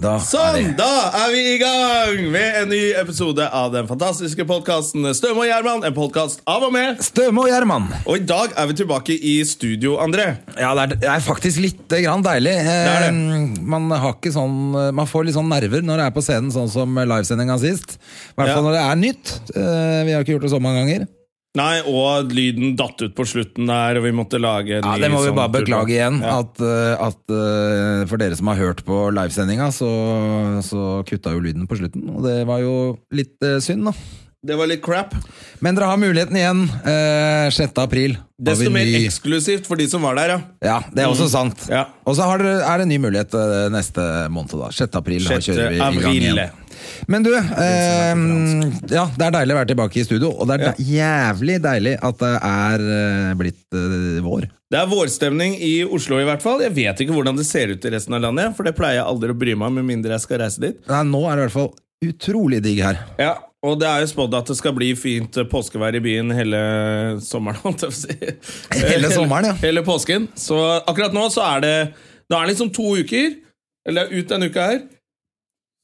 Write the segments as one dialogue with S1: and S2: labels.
S1: Da
S2: Sånn, da er vi i gang med en ny episode av den fantastiske podkasten Støme og Gjerman. En podkast av og med.
S1: Støme og Gjerman.
S2: Og i dag er vi tilbake i studio, André.
S1: Ja, det er, det er faktisk litt grann deilig.
S2: er det.
S1: Eh, Man, har ikke sånn, man får litt sånn nerver når det er på scenen, sånn som livesendinga sist. I hvert
S2: Ja.
S1: fall når det er nytt. Eh, Vi har ikke gjort det så mange ganger.
S2: Nei, og lyden datt ut på slutten der, og vi måtte lage en
S1: Ja,
S2: ny
S1: Det må vi
S2: sånn
S1: bare
S2: turbo.
S1: beklage igjen.
S2: Ja.
S1: At, eh, at eh, For dere som har hørt på livesendinga, så, så kutta jo lyden på slutten. Og det var jo litt eh, synd, da.
S2: Det var litt crap.
S1: Men dere har muligheten igjen. Eh, 6. april. har vi
S2: Desto mer
S1: ny-
S2: eksklusivt for de som var der, ja.
S1: Ja, det er også sant.
S2: Mm. Ja.
S1: Og så har dere- er det en ny mulighet eh, neste måned, da. 6. april. da
S2: 6.
S1: kjører vi i gang
S2: april.
S1: igjen. Men du, eh, ja, det er deilig å være tilbake i studio, og det er de- jævlig deilig at det er eh, blitt eh, vår.
S2: Det er vårstemning i Oslo, i hvert fall. Jeg vet ikke hvordan det ser ut i resten av landet, for det pleier jeg aldri å bry meg om, med mindre jeg skal reise dit.
S1: Nei, nå er det i hvert fall utrolig digg her.
S2: Ja, og det er jo spådd at det skal bli fint påskevær i byen hele sommeren. holdt jeg på å si.
S1: Hele sommeren, ja.
S2: Hele påsken. Så akkurat nå så er det Da er det liksom to uker. Eller det er ut denne uka her.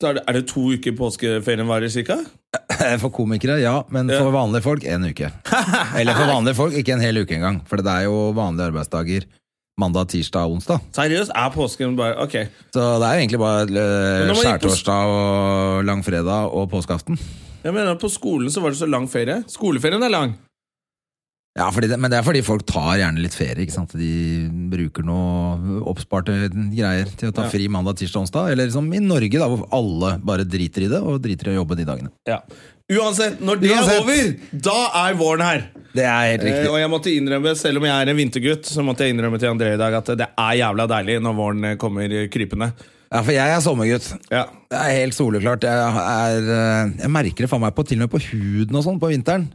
S2: Så er det, er det to uker påskeferien varer, cirka?
S1: Eh, For komikere, ja, men for vanlige folk en uke. Eller for vanlige folk ikke en hel uke engang, for det er jo vanlige arbeidsdager mandag, tirsdag og onsdag.
S2: Seriøst, er påsken bare Ok.
S1: Så det er jo egentlig bare
S2: Men
S1: eh,
S2: nå må jeg på-
S1: skjærtorsdag og langfredag og påskeaften.
S2: Jeg mener at På skolen så var det så lang ferie. Skoleferien er lang.
S1: Ja, fordi det, men det er fordi folk tar gjerne litt ferie. ikke sant? De bruker noe oppsparte greier til å ta fri mandag, tirsdag, onsdag. Eller som i Norge, da, hvor alle bare driter i det og driter i å jobbe de dagene.
S2: Ja. Uansett, når det
S1: Uansett.
S2: er over, da er våren her.
S1: Det er helt
S2: Eh,
S1: riktig.
S2: og jeg måtte innrømme, selv om jeg er en vintergutt, så måtte jeg innrømme til André i dag at det er jævla deilig når våren eh, kommer eh, krypende.
S1: Ja, For jeg er sommergutt.
S2: Ja.
S1: Det er helt soleklart. Jeg, er, eh, jeg merker det faen meg på til og med på huden og sånn på vinteren.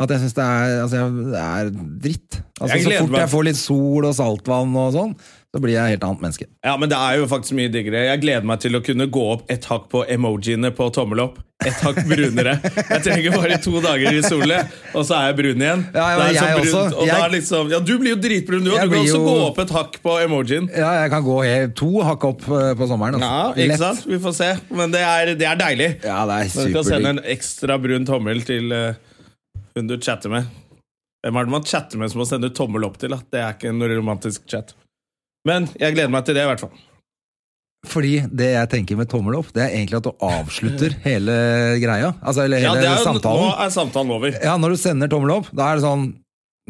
S1: At jeg syns det, er- altså, jeg- det er dritt. Altså,
S2: Jeg
S1: så
S2: gleder
S1: fort
S2: meg.
S1: jeg får litt sol og saltvann og sånn, så blir jeg et helt annet menneske.
S2: Ja, men det er jo faktisk mye diggere. Jeg gleder meg til å kunne gå opp et hakk på emojiene på tommel opp. Et hakk brunere. Jeg trenger bare to dager i solen, og så er jeg brun igjen.
S1: Ja, ja,
S2: Det er så
S1: jeg
S2: brunt,
S1: også.
S2: Og da
S1: Jeg-
S2: er liksom, ja, du blir jo dritbrun, du òg.
S1: Jeg
S2: Du kan
S1: blir
S2: også
S1: jo-
S2: gå opp et hakk på emojien.
S1: Ja, jeg kan gå helt to hakk opp eh, på sommeren.
S2: Ja,
S1: altså.
S2: ikke
S1: Lett.
S2: sant? Vi får se. Men det er, det er deilig.
S1: Ja, det er
S2: Men du kan sende
S1: superdigg.
S2: en ekstra brun tommel til eh, hun du chatter med. Hvem er det man chatter med som man sender tommel opp til? Da? Det er ikke en romantisk chat. Men jeg gleder meg til det, i hvert fall.
S1: Fordi det jeg tenker med tommel opp, det er egentlig at du avslutter hele greia. Altså, eller
S2: Ja,
S1: hele
S2: det er, jo- nå
S1: samtalen.
S2: er samtalen over.
S1: Ja, når du sender tommel opp, da er det sånn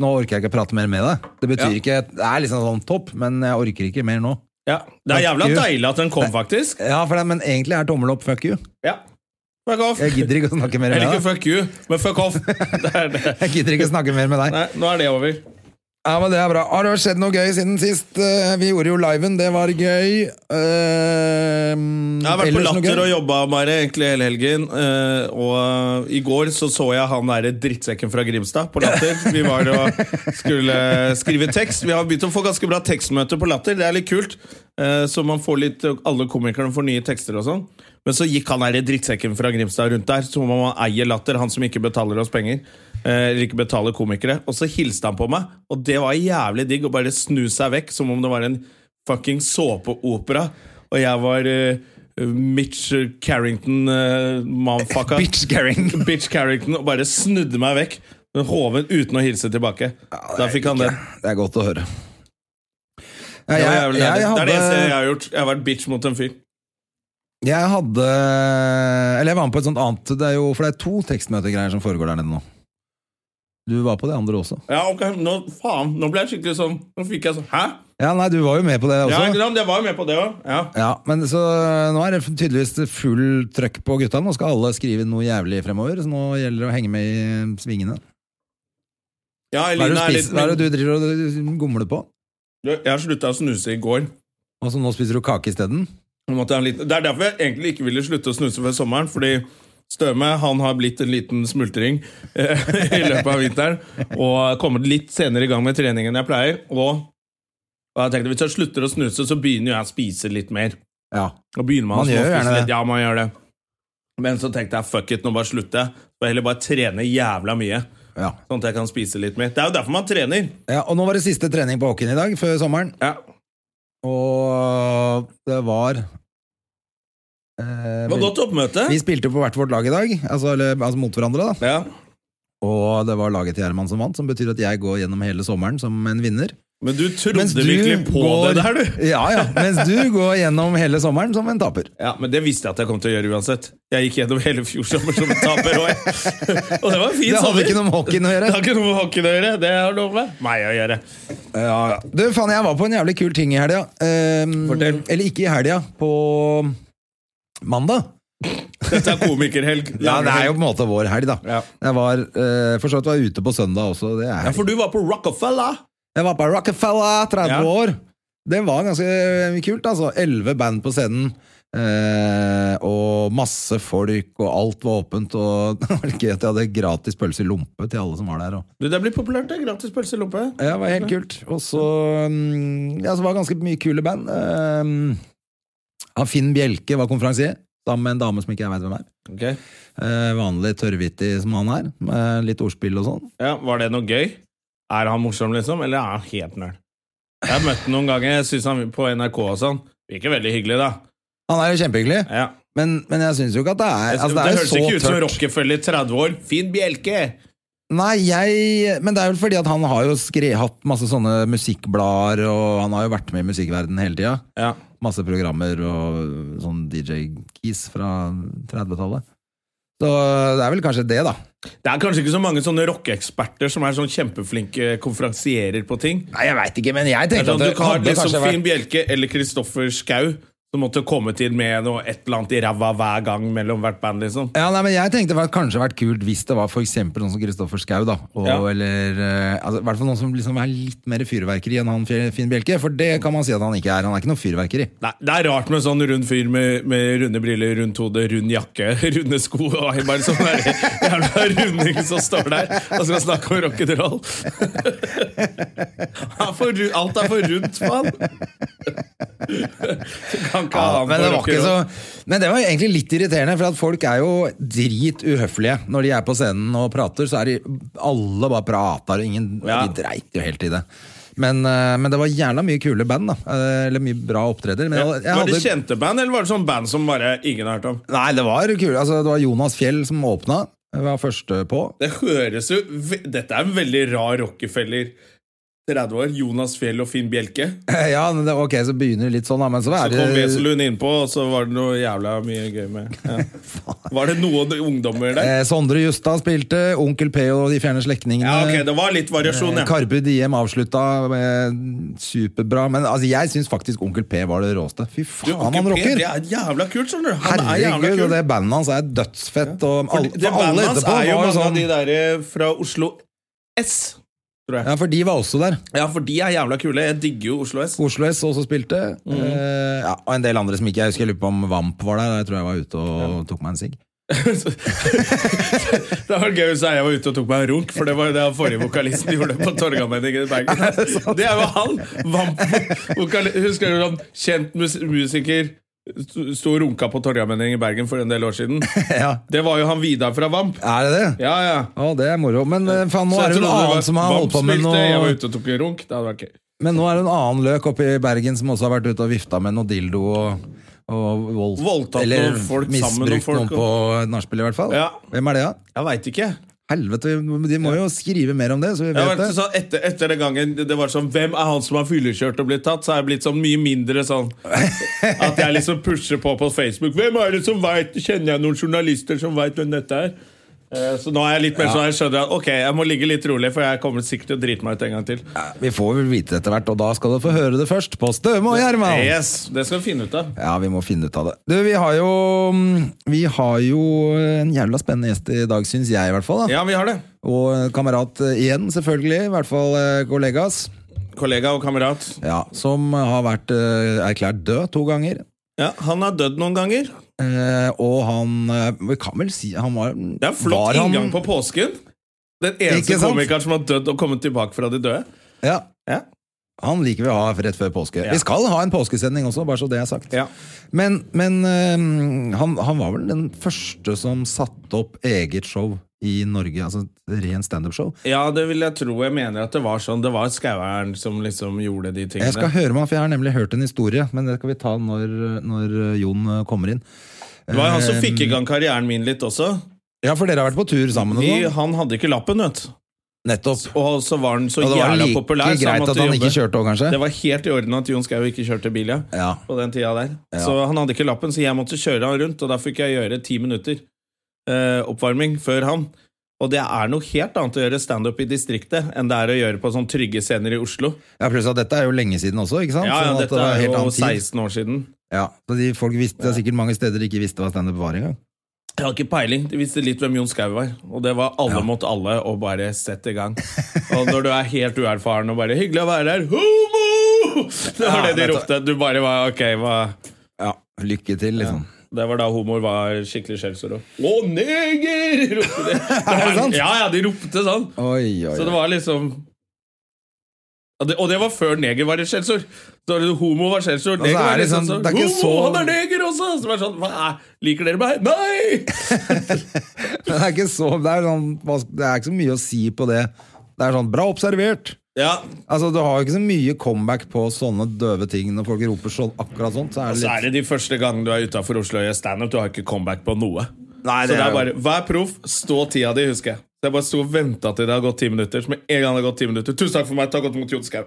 S1: Nå orker jeg ikke prate mer med deg. Det betyr
S2: Ja.
S1: ikke Det er liksom sånn topp, men jeg orker ikke mer nå.
S2: Ja, Det er jævla
S1: Fuck you.
S2: deilig at den kom, faktisk.
S1: Ja, for det, Men egentlig er tommel opp fuck you.
S2: Ja. Fuck off.
S1: Jeg gidder ikke å snakke mer
S2: Eller
S1: med deg.
S2: ikke fuck you, men fuck off. Det er det.
S1: Jeg gidder ikke å snakke mer med deg.
S2: Nei, nå er det over.
S1: Ja, men det er bra. Har det skjedd noe gøy siden sist? Eh, Vi gjorde jo liven, det var gøy. Eh,
S2: Jeg har vært på
S1: ellers noe
S2: Latter
S1: gøy?
S2: og jobba bare egentlig hele helgen. eh, Og i går så så jeg han derre drittsekken fra Grimstad på Latter. Vi var og skulle skrive tekst. Vi har begynt å få ganske bra tekstmøter på Latter. Det er litt kult. Eh, Så man får litt alle komikerne får nye tekster og sånn. Men så gikk han derre drittsekken fra Grimstad rundt der. Som om han eier Latter, han som ikke betaler oss penger. eh, Eller ikke betaler komikere. Og så hilste han på meg, og det var jævlig digg å bare snu seg vekk som om det var en fucking såpeopera. Og jeg var eh, Mitch Carrington, uh, motherfucker.
S1: Bitch Garing.
S2: Bitch Carrington, og bare snudde meg vekk. Men hoven uten å hilse tilbake. da fikk han den.
S1: Det er godt å høre. Ja,
S2: Det,
S1: jeg,
S2: var
S1: jeg,
S2: jævlig deilig. det er det eneste jeg
S1: hadde,
S2: har gjort. Jeg har vært bitch mot en fyr.
S1: jeg hadde Eller jeg var med på et sånt annet det er jo, For det er to tekstmøtegreier som foregår der nede nå. Du var på det andre også.
S2: Ja, ok, nå, faen, nå ble jeg skikkelig sånn Nå fikk jeg sånn Hæ?
S1: Ja, nei, du var jo med på det
S2: Ja,
S1: også.
S2: ikke sant? jeg var jo med på det òg. Ja.
S1: Ja, men så Nå er det tydeligvis full trøkk på gutta. Nå skal alle skrive noe jævlig fremover, så nå gjelder det å henge med i svingene. Hva
S2: Ja,
S1: er det
S2: Elina
S1: du,
S2: er
S1: spiser,
S2: litt
S1: hva er det du driver og gomler på?
S2: Jeg slutta å snuse i går.
S1: Og så nå spiser du kake isteden?
S2: Nå måtte jeg ha en liten- Det er derfor jeg egentlig ikke ville slutte å snuse før sommeren, fordi Støme han har blitt en liten smultring eh, i løpet av vinteren og kommet litt senere i gang med trening enn jeg pleier. Og, og jeg tenkte hvis jeg slutter å snuse, så begynner jeg å spise litt mer.
S1: Ja.
S2: Og begynner man,
S1: Man
S2: å
S1: gjør jo
S2: småspise
S1: gjerne det.
S2: litt. Ja, man gjør det. Men så tenkte jeg fuck it, nå bare slutter jeg. Så heller bare trene jævla mye.
S1: Ja.
S2: Sånn at jeg kan spise litt mer. Det er jo derfor man trener.
S1: ja, Og nå var det siste trening på hockeyen i dag, før sommeren.
S2: Ja.
S1: Og det var eh,
S2: Det var godt oppmøte.
S1: Vi spilte på hvert vårt lag i dag, altså, eller, altså mot hverandre, da.
S2: Ja.
S1: Og det var laget til Gjerman som vant, som betyr at jeg går gjennom hele sommeren som en vinner.
S2: Men du trodde virkelig på
S1: går-
S2: det der, du.
S1: Ja, ja. Mens du går gjennom hele sommeren som en taper.
S2: Ja, Men det visste jeg at jeg kom til å gjøre uansett. Jeg gikk gjennom hele fjor sommer som taper. Og, og det var en
S1: Det
S2: fin
S1: hadde
S2: sommer.
S1: ikke noe med hockeyen å
S2: Det har
S1: gjøre.
S2: ikke noe med hockeyen å gjøre. Det har noe med meg å gjøre.
S1: Ja, ja. Du, faen, jeg var på en jævlig kul ting i helga. Ehm,
S2: Fortell.
S1: eller ikke i helga, på mandag.
S2: Dette er komikerhelg.
S1: Ja, det er jo på en måte vår helg, da.
S2: Ja.
S1: Jeg var eh, for så vidt var jeg ute på søndag også. Det er
S2: ja, For du var på Rockefeller.
S1: Jeg var på Rockefeller, 30
S2: Ja.
S1: år. Det var ganske kult, altså. Elleve band på scenen. Eh, og masse folk, og alt var åpent. Og det var litt gøy at jeg hadde gratis pølse i lompe til alle som var der. Og.
S2: Du, Det blir populært, det. Gratis pølse i lompe.
S1: Ja, det var helt kult. Og så mm, ja, så var det ganske mye kule band. Eh, han Finn Bjelke var konferansier, sammen med en dame som ikke jeg veit hvem er.
S2: Ok.
S1: Eh, vanlig tørrvittig som han er, med litt ordspill og sånn.
S2: Ja, Var det noe gøy? Er han morsom, liksom? Eller er han helt nerd? Jeg har møtt ham noen ganger jeg synes han på NRK og sånn. Virker veldig hyggelig, da.
S1: Han er jo kjempehyggelig,
S2: Ja.
S1: men, men jeg syns jo ikke at det er altså, Det,
S2: det
S1: er
S2: høres ikke
S1: jo
S2: ut
S1: så
S2: som
S1: tørt.
S2: Rockefeller i 30 år. Finn Bjelke!
S1: Nei, jeg, men det er vel fordi at han har jo skre, hatt masse sånne musikkblader, og han har jo vært med i musikkverdenen hele tida.
S2: Ja.
S1: Masse programmer og sånn DJ-keys fra 30-tallet. Så det er vel kanskje det, da.
S2: Det er kanskje ikke så mange sånne rockeeksperter som er sånn kjempeflinke konferansierer på ting.
S1: Nei, jeg veit ikke, men jeg
S2: Det er sånn, du kan ha
S1: hadde
S2: liksom
S1: kanskje
S2: Finn
S1: vært
S2: Bjelke eller Kristoffer Schau som måtte komme til med noe et eller annet i ræva hver gang mellom hvert band, liksom.
S1: ja, nei, men Jeg tenkte det hadde kanskje vært kult hvis det var for eksempel noen som Kristoffer Schau. da og,
S2: Ja.
S1: Eller eh, altså, i hvert fall noen som liksom er litt mer fyrverkeri enn han Fe- Finn Bjelke. For det kan man si at han ikke er. Han er ikke noe fyrverkeri.
S2: Nei, det er rart med en sånn rund fyr med, med runde briller, rundt hode, rund jakke, runde sko og bare sånn der jævla runding som står der og skal snakke om rock'n'roll. Han er for ru- Alt er for rundt, faen! Du Kan ikke ha
S1: Ja,
S2: han
S1: men,
S2: på
S1: det var ikke
S2: rock'n'roll.
S1: så, men det var egentlig litt irriterende, for at folk er jo drituhøflige. Når de er på scenen og prater, så er de alle bare prater, og ingen,
S2: Ja.
S1: de dreit jo helt i det. Men, eh, men det var jævla mye kule band, da. Eh, Eller mye bra opptreder. Men jeg, jeg
S2: var det
S1: hadde,
S2: kjente band, eller var det sånn band som bare ingen har hørt om?
S1: nei, det var kule. Altså, det var Jonas Fjell som åpna. Jeg var første på.
S2: Det høres jo ve- Dette er en veldig rar Rockefeller 30 år. Jonas Fjell og Finn Bjelke.
S1: Ja, men det, ok, så begynner det litt sånn, da. Men så
S2: Så
S1: er
S2: kom
S1: det
S2: Wesenlund innpå, og så var det noe jævla mye gøy med ja. Var det noen ungdommer der?
S1: eh, Sondre Justad spilte, Onkel P og De fjerne slektningene.
S2: Ja, ok, det var litt variasjon, ja.
S1: Eh, Karpe Diem avslutta med superbra, men altså, jeg syns faktisk Onkel P var det råeste. Fy
S2: Du,
S1: faen,
S2: Onkel
S1: han
S2: P,
S1: rocker!
S2: Det er jævla kult, skjønner du. Han er jævla
S1: Herregud, og
S2: kul.
S1: det bandet hans er dødsfett. Og
S2: For
S1: alle,
S2: det
S1: for alle
S2: bandet hans
S1: etterpå
S2: er
S1: var
S2: jo
S1: jo
S2: mange av
S1: sånn
S2: de der eh, fra Oslo S.
S1: Ja, for de var også der.
S2: Ja, for de er jævla kule. Jeg digger jo Oslo S.
S1: Oslo S også spilte.
S2: Mhm.
S1: Eh, ja, og en del andre som ikke jeg husker. Jeg lurer på om Vamp var der. Jeg tror jeg var ute og tok meg en sigg.
S2: Det var gøy hvis jeg var ute og tok meg en runk, for det var jo det han forrige vokalisten gjorde på Torgallmenningen i Bergen. Det er jo han! Vamp, vokali- husker du sånn kjent mus musiker sto- sto og runka på Torgallmenningen i Bergen for en del år siden?
S1: ja.
S2: Det var jo han Vidar fra Vamp.
S1: Er det det?
S2: Ja, ja.
S1: Å, det er moro. Men eh, faen, nå
S2: Så jeg
S1: er det jo en
S2: trodde det var-
S1: annen som har
S2: Vamp
S1: holdt på med
S2: spilte, Jeg var
S1: noe
S2: ute og tok en runk. Det hadde vært gøy.
S1: Men nå er det en annen løk oppe i Bergen som også har vært ute og vifta med noe dildo og, og vold,
S2: Voldtatt noen folk sammen, noen
S1: misbrukt
S2: folk,
S1: noen på nachspiel, i hvert fall.
S2: Ja.
S1: Hvem er det, da?
S2: Jeg veit ikke.
S1: Helvete, vi- de må jo skrive mer om det, så vi
S2: Jeg
S1: vet
S2: var
S1: det.
S2: sånn, etter, etter den gangen det var sånn Hvem er han som har fyllekjørt og blitt tatt? Så har jeg blitt sånn mye mindre sånn At jeg liksom pusher på på Facebook. Hvem er det som vet, Kjenner jeg noen journalister som veit hvem dette er? Eh, Så nå er jeg litt mer sånn Jeg skjønner at ok, jeg må ligge litt rolig, for jeg kommer sikkert til å drite meg ut en gang til.
S1: Vi får vel vite det etter hvert, og da skal du få høre det først på Støme og Gjerman.
S2: Yes, Det skal vi finne ut av.
S1: Ja, vi må finne ut av det. Du, vi har jo, mm, vi har jo en jævla spennende gjest i dag, syns jeg i hvert fall. Da.
S2: Ja, vi har det.
S1: Og en kamerat eh, igjen, selvfølgelig. I hvert fall eh, kollegas.
S2: Kollega og kamerat.
S1: Ja, som har vært eh, erklært død to ganger.
S2: Ja, han har dødd noen ganger.
S1: Eh, og han eh, Vi kan vel si han var
S2: Det er flott
S1: var han-
S2: inngang på påsken. Den eneste
S1: Ikke sant?
S2: komikeren som har dødd og kommet tilbake fra de døde.
S1: Ja,
S2: Ja.
S1: han liker vi å ha rett før påske.
S2: Ja.
S1: Vi skal ha en påskesending også, bare så det er sagt.
S2: Ja.
S1: Men, men eh, han, han var vel den første som satte opp eget show i Norge. Altså et ren standup-show.
S2: ja, det vil jeg tro. Jeg mener at det var sånn. Det var Skaueren som liksom gjorde de tingene.
S1: Jeg skal høre med han, for jeg har nemlig hørt en historie, men det skal vi ta når, når Jon eh, kommer inn.
S2: Det var han som fikk i gang karrieren min litt også.
S1: Eh, Ja, for dere har vært på tur sammen og
S2: Vi,
S1: sånn.
S2: han hadde ikke lappen, vet du.
S1: Nettopp.
S2: Og så var han så
S1: Og det var
S2: jævla
S1: like
S2: populær. så
S1: greit
S2: måtte
S1: at han
S2: jobbe.
S1: ikke kjørte òg, kanskje?
S2: Det var helt i orden at Jon Skau ikke kjørte bil, ja.
S1: Ja.
S2: På den tida der.
S1: Ja.
S2: Så han hadde ikke lappen, så jeg måtte kjøre han rundt, og da fikk jeg gjøre ti minutter eh, oppvarming før han. Og det er noe helt annet å gjøre standup i distriktet enn det er å gjøre på sånn trygge scener i Oslo.
S1: ja, pluss at dette er jo lenge siden også, ikke sant?
S2: Ja, ja,
S1: Sånn at
S2: dette
S1: det var
S2: er
S1: helt
S2: jo
S1: annen tid.
S2: 16 år siden.
S1: Ja, så de folk visste, Det er sikkert mange steder de ikke visste hva standup var engang.
S2: Jeg har ikke peiling. De visste litt hvem Jon Skau var. Og det var alle
S1: Ja.
S2: mot alle, og bare sett i gang. Og når du er helt uerfaren og bare 'hyggelig å være her', homo! Det var
S1: Ja,
S2: det de
S1: dette-
S2: ropte. Du bare var ok, hva
S1: Ja, Lykke til, liksom.
S2: Det var da homoer var skikkelig skjellsord. og, Å, neger! ropte de.
S1: Er det sant?
S2: Ja, ja, de ropte sånn.
S1: Oi, oi,
S2: Så det
S1: oi.
S2: var liksom Og det, og det var før neger var et skjellsord. Så var det Homo var skjellsord.
S1: Og så er
S2: Neger var
S1: det
S2: liksom
S1: sånn-
S2: sånn
S1: det er
S2: Homo,
S1: ikke så-
S2: han er neger også! Så det var sånn, Hva er, Liker dere meg? Nei!
S1: Men det er ikke så det er, sånn, hva- det er ikke så mye å si på det. Det er sånn bra observert.
S2: Ja,
S1: Altså, Du har jo ikke så mye comeback på sånne døve ting når folk roper sånn akkurat sånt. Så er det
S2: Så
S1: litt
S2: er det de første gangene du er utafor Oslo og gjør standup. Du har ikke comeback på noe.
S1: Nei,
S2: så det er
S1: jo-
S2: bare Vær proff, stå tida di, husker jeg. Så jeg bare sto og venta til det har gått ti minutter. Så med en gang det har gått ti minutter Tusen takk for meg, ta godt imot Jon Skau.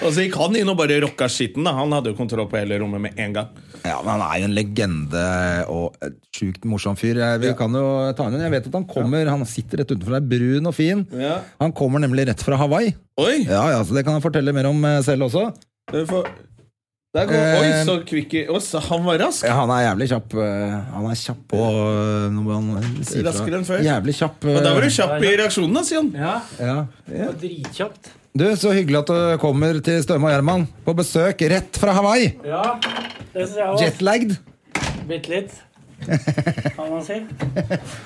S2: og så gikk han inn og bare rocka skitten. da Han hadde jo kontroll på hele rommet med en gang.
S1: Ja, men Han er jo en legende og et sjukt morsom fyr. Jeg, vi kan jo ta han inn. jeg vet at han kommer Han sitter rett utenfor deg, brun og fin.
S2: Ja.
S1: Han kommer nemlig rett fra Hawaii.
S2: Oi!
S1: Ja, ja, så Det kan han fortelle mer om eh, selv også.
S2: det får- Der går, oi,
S1: Eh,
S2: så kvikk i Å, så han var rask!
S1: Ja, han er jævlig kjapp. eh, Han er kjapp på eh, når man sier fra.
S2: Raskere enn før.
S1: Jævlig kjapp. eh,
S2: Og da var du kjapp i reaksjonen, da, Sion.
S3: Ja,
S1: ja.
S3: det var dritkjapt.
S1: Du, så hyggelig at du kommer til Støme og Gjerman på besøk rett fra Hawaii.
S3: Ja, det syns jeg også.
S1: Jetlagd.
S3: Bitte litt, kan man si.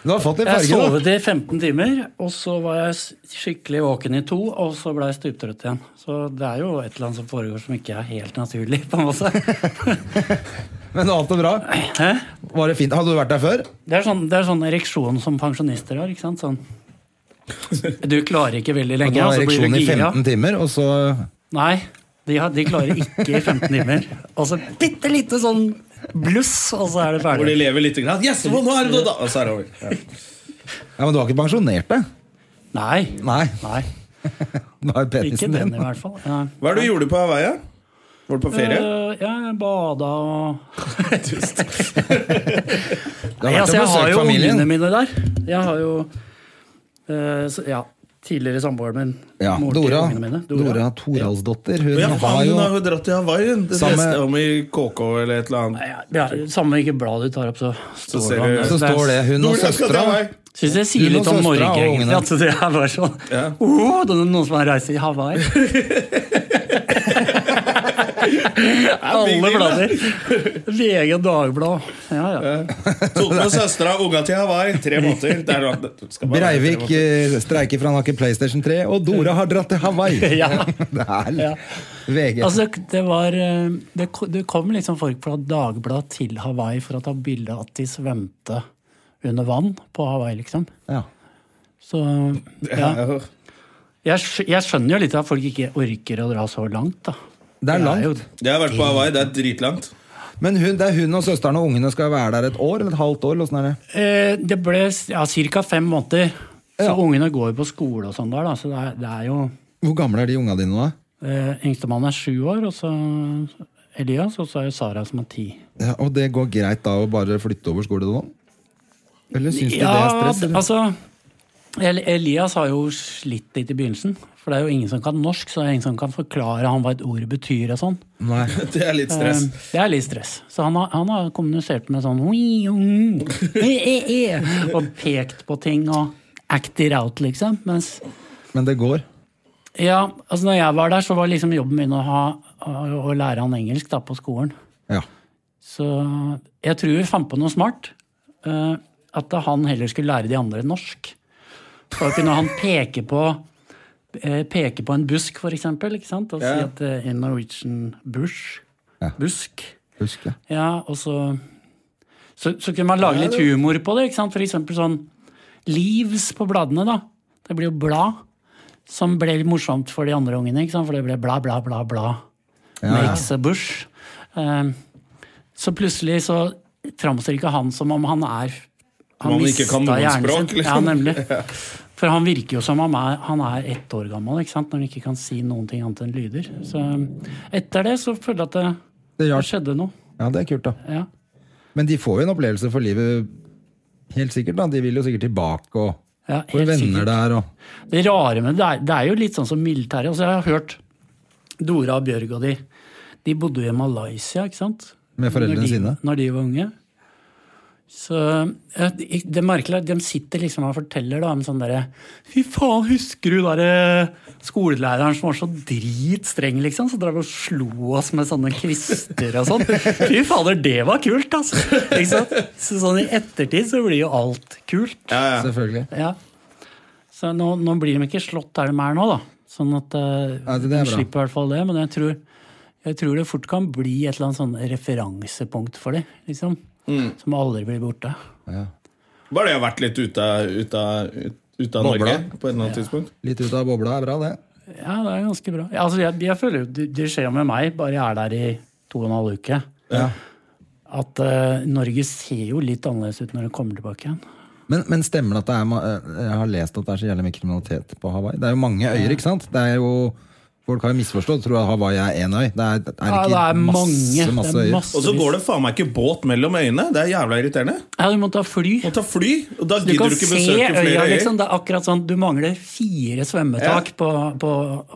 S1: Du har fått en
S3: Jeg
S1: farge, da.
S3: sovet i 15 timer, og så var jeg s- skikkelig våken i to, og så ble jeg stuptrøtt igjen. Så det er jo et eller annet som foregår som ikke er helt naturlig, på en måte.
S1: Men alt er bra.
S3: Hæ?
S1: Var det fint? Hadde du vært der før?
S3: Det er sånn, det er sånn ereksjon som pensjonister har, ikke sant? Sånn. Du klarer ikke veldig
S1: Du
S3: lenge, og
S1: har
S3: så blir
S1: ereksjon
S3: du
S1: i
S3: gira.
S1: 15 timer, og så
S3: Nei, de, har, de klarer ikke i 15 timer. Og så bitte lite sånn bluss, og så er det
S2: Hvor de
S3: ferdig.
S2: lever litt grann. Yes, nå er det noe da Og så er det over. Ja.
S1: Ja, Men du har ikke pensjonert deg?
S3: Nei.
S1: Nei.
S3: Nei.
S1: Det var
S3: Ikke
S1: penisen
S3: den,
S1: din.
S3: i hvert fall. Ja.
S2: Hva er det du gjorde på Hawaii? ja? Var du på ferie?
S3: Eh, ja, jeg bada og
S1: Du
S3: Nei,
S1: har vært
S3: altså,
S1: og
S3: jeg har
S1: besøkt
S3: jo ungene
S1: familien.
S3: mine der. Jeg har jo eh, så, Ja, tidligere samboeren min.
S1: Ja,
S3: mor til
S1: Dora,
S3: ungene mine.
S1: Dora Toralsdotter.
S2: Ja,
S1: Hun har
S2: faen, hun
S1: jo
S2: har jo dratt til Hawaii. hun. Det
S1: Samme-
S2: leste jeg om i KK eller et eller annet.
S3: Nei, Ja, ja, samme hvilket blad du tar opp, så står
S2: ser
S3: han
S2: du-
S3: der.
S1: Så står det hun og
S2: Dora skal til
S1: søstera.
S2: Hawaii.
S3: Syns jeg
S1: Hun
S3: sier litt
S1: og
S3: om Norge,
S1: søstera og
S3: egentlig.
S1: ungene.
S3: At det er bare sånn
S2: Ja.
S3: oh, det er noen som har reist til Hawaii. Alle blader. VG og Dagbladet. Ja, ja.
S2: Tok med søstera og unga til Hawaii. Tre måneder. Det er noe- det skal bare være tre
S1: Breivik
S2: måneder.
S1: eh, streiker for han har ikke PlayStation 3, og Dora har dratt til Hawaii!
S3: ja.
S1: Det er
S3: Ja.
S1: VG.
S3: Altså, det var eh, Det, ko- det kom liksom folk fra Dagbladet til Hawaii for å ta bilde av at de svømte under vann på Hawaii, liksom.
S1: Ja.
S3: Så ja. Jeg, skj- jeg skjønner jo litt at folk ikke orker å dra så langt, da.
S1: Det er
S3: jo-
S1: langt.
S2: Jeg har vært på Hawaii. Det er dritlangt.
S1: Men hun, det er hun og søsteren og ungene skal være der et år eller et halvt år? Eller åssen er det?
S3: Eh, det ble ja, ca. fem måneder. Så
S1: Ja.
S3: ungene går jo på skole og sånn der, da. Så det er, det er jo
S1: Hvor gamle er de unga dine nå? da?
S3: eh, Yngstemann er sju år, og så Elias, og så er jo Sara som er ti.
S1: Ja, og det går greit da å bare flytte over skole nå? Eller syns du det er
S3: Ja,
S1: stress? Eller?
S3: altså El- Elias har jo slitt litt i begynnelsen. For det er jo ingen som kan norsk, så det er ingen som kan forklare han hva et ord betyr og sånn.
S1: Nei.
S2: Det er litt stress.
S3: Eh, Det er litt stress. Så han har, han har kommunisert med sånn «Oi, oi, e, e, e», Og pekt på ting og acted out, liksom. Mens
S1: Men det går.
S3: ja, altså når jeg var der, så var liksom jobben min å, ha, å, å lære han engelsk da, på skolen.
S1: Ja.
S3: Så jeg tror vi fant på noe smart. eh, at han heller skulle lære de andre norsk. Da kunne han peke på eh, peke på en busk, for eksempel, ikke sant? og si
S2: Ja.
S3: at eh, in Norwegian bush,
S1: Ja.
S3: busk.
S1: Husk, ja.
S3: Ja, og så Så, så kunne man lage litt humor på det, ikke sant? For eksempel sånn Leaves på bladene, da. Det blir jo blad. Som ble litt morsomt for de andre ungene, ikke sant? for det ble bla, bla, bla, bla. Makes a bush. Eh, så plutselig så framstår ikke han som om han er
S2: Om han ikke
S3: mistet
S2: kan noen
S3: hjernen
S2: språk,
S3: sin. Ja,
S2: liksom.
S3: nemlig. For han virker jo som om han er, han er ett år gammel, ikke sant? når han ikke kan si noen ting annet enn lyder. Så etter det så føler jeg at det,
S1: Det, er
S3: det
S1: rart.
S3: skjedde noe.
S1: ja, det er kult, da.
S3: Ja.
S1: Men de får jo en opplevelse for livet, helt sikkert. da. De vil jo sikkert tilbake og
S3: Ja,
S1: får
S3: helt
S1: venner
S3: sikkert.
S1: der. og...
S3: Det rare med det er, det er jo litt sånn som militæret. Altså, jeg har hørt Dora og Bjørg og de. De bodde jo i Malaysia, ikke sant?
S1: Med foreldrene
S3: når de,
S1: sine.
S3: Når de var unge. Så ja, de- det er merkelig at de sitter liksom og forteller da, om sånn derre Fy faen, husker du derre skolelæreren som var så dritstreng, liksom? Som drev og slo oss med sånne kvister og sånn. Fy fader, det var kult, altså! Ikke sant? Så sånn i ettertid så blir jo alt kult.
S1: Selvfølgelig.
S3: Ja. Så nå, nå blir de ikke slått der de er nå, da. Sånn at eh,
S1: Ja, det- det er
S3: de
S1: bra.
S3: slipper i hvert fall det. Men jeg tror, jeg tror det fort kan bli et eller annet sånn referansepunkt for dem. Liksom.
S1: Mm.
S3: Som aldri blir borte.
S2: Bare det har vært litt ute av- ut av- ut- ut av
S1: Bobla.
S2: Norge på et eller annet tidspunkt.
S1: Litt ut av bobla er bra, det.
S3: Ja, det er ganske bra. Ja, altså, jeg, jeg føler jo det, det skjer jo med meg, bare jeg er der i to og en halv uke. At eh, Norge ser jo litt annerledes ut når det kommer tilbake igjen.
S1: Men, men stemmer det at det er ma- eh, Jeg har lest at det er så jævlig mye kriminalitet på Hawaii. Det er jo mange øyer, ikke sant? Det er jo, folk har jo misforstått og tror at Hawaii er én øy. Det er, det er
S3: Ja,
S1: ikke
S3: det er mange.
S1: masse, masse
S3: det er
S1: øyer.
S2: Og så går det faen meg ikke båt mellom øyene. Det er jævla irriterende.
S3: Ja, du må ta fly.
S2: Må ta fly, og da
S3: Du
S2: gidder
S3: kan
S2: du ikke
S3: se
S2: besøke flere
S3: øya,
S2: øyer.
S3: liksom. Det er akkurat sånn, du mangler fire svømmetak på, på,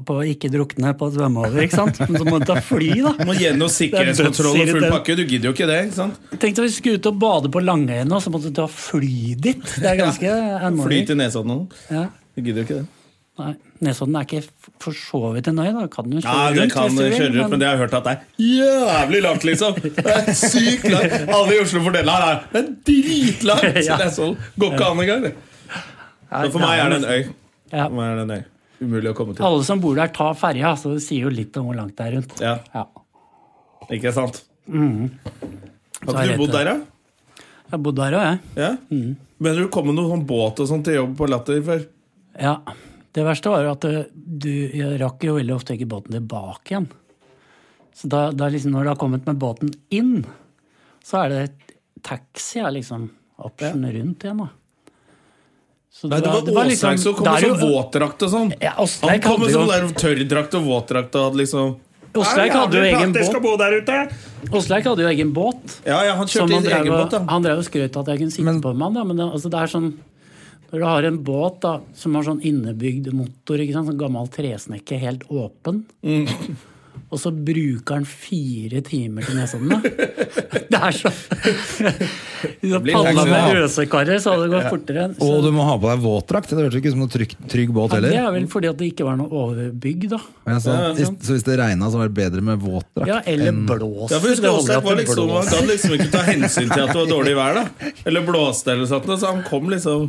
S3: på ikke drukne på å svømme over, ikke sant? Men så må du ta fly,
S2: Du
S3: da.
S2: Må gjennom sikkerhetskontroll og full pakke. Du gidder jo ikke det. ikke sant?
S3: Tenk deg hvis du skulle ut og bade på Langøyene, og så måtte du ta fly dit. Det er ganske
S2: Fly
S3: annoying.
S2: til Nesodden.
S3: Ja.
S2: Du gidder jo ikke det.
S3: Nei, Nesodden er ikke f- for så vidt en øy, da. Kan du kjøre
S2: Ja, det
S3: rundt
S2: kan
S3: hvis du vil,
S2: kjøre rundt, men det har jeg hørt at det er jævlig langt, liksom. Det er Sykt langt. Alle i Oslo fordeler her. Det er dritlangt!
S3: Ja.
S2: Det er sånn. Går ikke an engang. det.
S3: Nei,
S2: Så for meg er det en øy.
S3: Ja.
S2: For meg er det en øy. Umulig å komme til.
S3: Alle som bor der, tar ferja, så det sier jo litt om hvor langt det er rundt.
S2: Ja,
S3: Ja.
S2: ikke sant?
S3: Så
S2: Har
S3: er
S2: ikke
S3: det-
S2: du bodd der, da?
S3: Jeg har bodd der òg, jeg.
S2: Ja?
S3: Mm.
S2: Mener du kom med noen sånn båt og sånn til jobb på Latter før?
S3: Ja. Det verste var jo at eh, du jeg rakk jo veldig ofte ikke båten tilbake igjen. Så da, da liksom når du har kommet med båten inn, så er det taxi er liksom option rundt igjen, da. Så
S2: Nei, det var,
S3: liksom-
S2: Åsheim som kom
S3: det
S2: med
S3: er
S2: sånn
S3: jo-
S2: våtdrakt og sånn.
S3: Ja, Åsleik
S2: Han kom
S3: hadde
S2: med
S3: jo-
S2: sånn der tørrdrakt og våtdrakt og hadde liksom
S3: Åsleik
S2: Er det
S3: hadde jo
S2: jævlig
S3: egen
S2: praktisk
S3: båt.
S2: å bo der ute?
S3: Åsleik hadde jo egen båt.
S2: Ja, ja, han
S3: som
S2: kjørte i
S3: han
S2: sin
S3: drev
S2: egen
S3: og-
S2: båt, da.
S3: Han drev og skrøt at jeg kunne sitte på med han, da, men det, altså, det er sånn Når du har en båt da, som har sånn innebygd motor, ikke sant, sånn gammel tresnekke, helt åpen
S2: Mm.
S3: Og så bruker han fire timer til Nesodden, da. Det er så Hvis du
S2: blir
S3: padla
S2: taxi,
S1: da.
S3: med røsekarer, så hadde det gått fortere. Så,
S1: Og du må ha på deg våtdrakt. Det hørtes ikke ut som noen trygg, trygg båt
S3: ja, det
S1: heller.
S3: er vel fordi at det ikke var noe overbygg, da.
S1: Ja, så, så hvis det regna, så var det bedre med våtdrakt.
S3: Ja, eller
S1: enn-
S3: blåser.
S2: Ja, for husk,
S3: Det holder
S2: Åsleik
S3: at
S2: var
S3: det
S2: liksom, han
S3: blåser.
S2: kan liksom ikke ta hensyn til at det var dårlig vær, da. Eller blåste eller sånt, så han kom liksom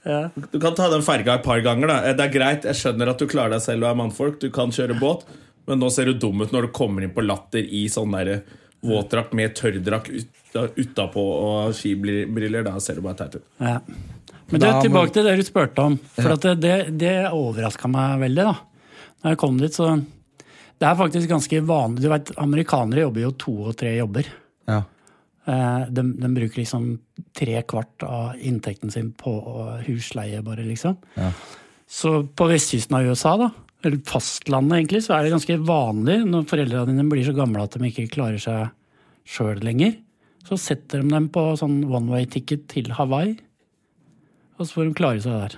S3: Ja.
S2: Du kan ta den ferga et par ganger, da. Eh, Det er greit, jeg skjønner at du klarer deg selv og er mannfolk, du kan kjøre båt, men nå ser du dum ut når du kommer inn på Latter i sånn derre våtdrakt med tørrdrakt ut- utapå og skibriller. Da ser du bare teit ut.
S3: Ja. Men du,
S1: Da må-
S3: tilbake til det du spurte om. For at det, det, det overraska meg veldig. da. Når jeg kom dit, så Det er faktisk ganske vanlig. Du vet, Amerikanere jobber jo to og tre jobber.
S1: Ja.
S3: Eh, De, de bruker liksom tre kvart av inntekten sin på å- husleie, bare, liksom. Så på vestkysten av USA, da, eller fastlandet egentlig, så er det ganske vanlig når foreldra dine blir så gamle at de ikke klarer seg sjøl lenger, så setter de dem på sånn one way-ticket til Hawaii, og så får de klare seg der.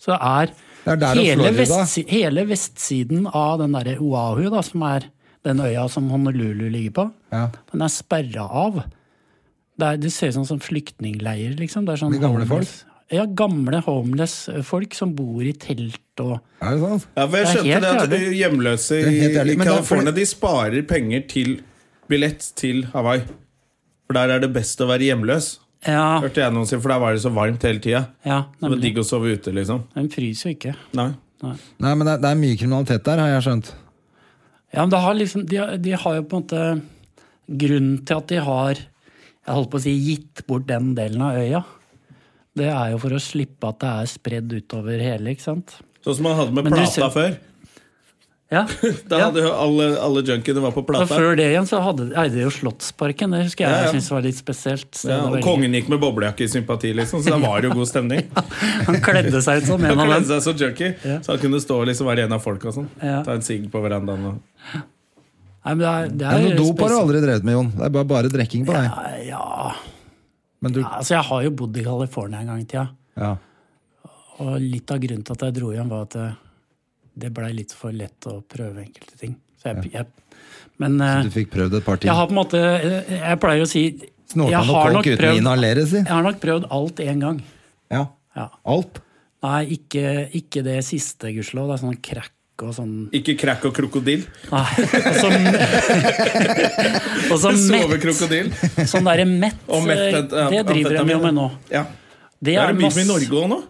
S3: Så det er,
S1: Det er der og
S3: hele,
S1: Florida.
S3: vestsi hele vestsiden av den derre Oahu, da, som er den øya som Honolulu ligger på,
S1: Ja.
S3: den er sperra av. Det, er, det ser ut som sånn flyktningleirer, liksom. Det er sånn
S1: Med gamle
S3: homeless- Ja, gamle homeless-folk som bor i telt og
S1: Er det sant?
S2: Ja, for jeg
S3: Det er
S2: skjønte
S3: helt
S2: det at
S3: jævlig.
S2: hjemløse
S1: Det er helt
S2: i
S1: jævlig,
S2: i
S1: men det er
S2: California
S1: fordi-
S2: de sparer penger til billett til Hawaii. For der er det best å være hjemløs,
S3: Ja,
S2: hørte jeg noen si, for der var det så varmt hele tida.
S3: ja
S2: Det var
S3: nemlig.
S2: digg å sove ute, liksom.
S3: Den fryser jo ikke.
S2: Nei.
S1: Nei, men det er, det er mye kriminalitet der, har jeg skjønt.
S3: Ja, men det har liksom, de, har- de har jo på en måte Grunnen til at de har jeg holdt på å si gitt bort den delen av øya, det er jo for å slippe at det er spredd utover hele, ikke sant?
S2: Sånn som man hadde med
S3: Men du
S2: plata
S3: ser-
S2: før.
S3: Ja,
S2: Da
S3: ja.
S2: hadde jo alle, alle junkiene var på
S3: Og
S2: plata.
S3: før det igjen så hadde, eide de jo Slottsparken. Det husker jeg
S2: Ja, ja.
S3: jeg syntes var litt spesielt. sted
S2: Ja,
S3: å
S2: og
S3: velge.
S2: kongen gikk med boblejakke i sympati, liksom, så da var det jo god stemning.
S3: Han kledde seg ut som en
S2: Han
S3: av
S2: kledde
S3: dem.
S2: seg som junkie,
S3: Ja.
S2: så han kunne stå og liksom være en av folka og sånn.
S3: Ja.
S2: Ta en sigg på verandaen og
S3: Nei, men det er, det
S1: Ja,
S3: er
S1: noe dop har du
S3: spesielt.
S1: aldri drevet med, Jon. Det er bare, bare drikking på deg.
S3: Nei, Ja,
S1: Men du,
S3: altså jeg har jo bodd i California en gang i tida.
S1: ja.
S3: Og litt av grunnen til at jeg dro hjem, var at det, det blei litt for lett å prøve enkelte ting. Så jeg, jeg, men eh,
S1: Du fikk prøvd et par
S3: jeg
S1: ting.
S3: har på en måte eh, Jeg pleier å si jeg
S1: Snorta noe
S3: har, nok
S1: coke uten å
S3: prøvd,
S1: inhalere, si.
S3: jeg har nok prøvd alt én gang.
S1: Ja.
S3: Ja.
S1: Alt.
S3: Nei, ikke, ikke det siste, gudskjelov. Det er sånn crack og sånn
S2: Ikke crack og krokodille.
S3: Nei, og så, og så mett.
S2: Sovekrokodille.
S3: Sånn derre mett,
S2: Og mett-
S3: eh, det driver de jo med nå.
S2: Ja.
S3: Det
S2: Det er
S3: er,
S2: det mye
S3: masse,
S2: som i Norge òg nå.
S3: det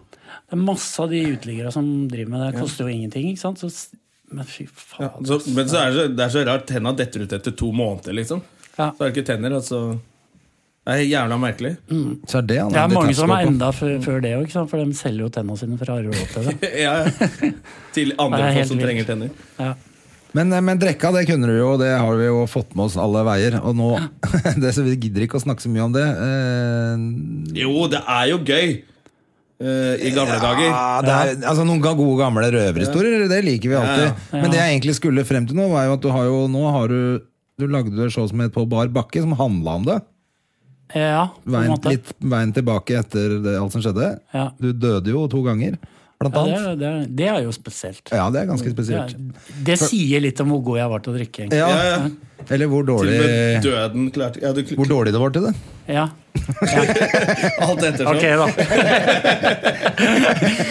S3: er masse av de uteliggere som driver med det. Det koster jo ingenting, ikke sant? Så, s- men fy
S2: Ja,
S3: faen.
S2: så, men så er det, så- det er så rart. Tenna detter ut etter to måneder, liksom.
S3: Ja.
S2: Så er det ikke tenner, altså. Det er jævla merkelig.
S1: Så er det han
S3: Det er
S1: endelig
S3: mange som er
S1: terskåpen.
S3: enda før, før det òg, for de selger jo tenna sine for harde råd til det.
S2: Ja, ja. Til
S3: Det
S2: andre
S3: er
S2: folk
S3: helt
S2: som
S3: vilt.
S2: trenger tenner.
S3: Ja.
S1: Men, eh, men drekka, det kunne du jo, og det har vi jo fått med oss alle veier. Og nå det, så Vi gidder ikke å snakke så mye om det. Eh,
S2: Jo, det er jo gøy! eh, I gamle dager.
S1: ja, det er, altså Noen ga- gode gamle røverhistorier, det liker vi alltid. Men det jeg egentlig skulle frem til nå, var jo at du har jo nå har du du lagde et show som het På bar bakke, som handla om det.
S3: Eh, ja, på en
S1: Veien,
S3: måte.
S1: litt, veien tilbake etter det, alt som skjedde.
S3: Ja.
S1: Du døde jo to ganger, blant
S3: Ja, det,
S1: annet.
S3: er, det, er, det er jo spesielt.
S1: Ja, det er ganske
S3: Det,
S1: spesielt.
S3: er, det sier litt om hvor god jeg var til å drikke. egentlig.
S1: Ja,
S2: Ja, ja.
S1: Eller hvor
S2: Til og
S1: dårlig,
S2: med døden klarte ja, du,
S1: hvor dårlig det var til det.
S3: Ja,
S2: Alt etter sånn.
S3: ok da.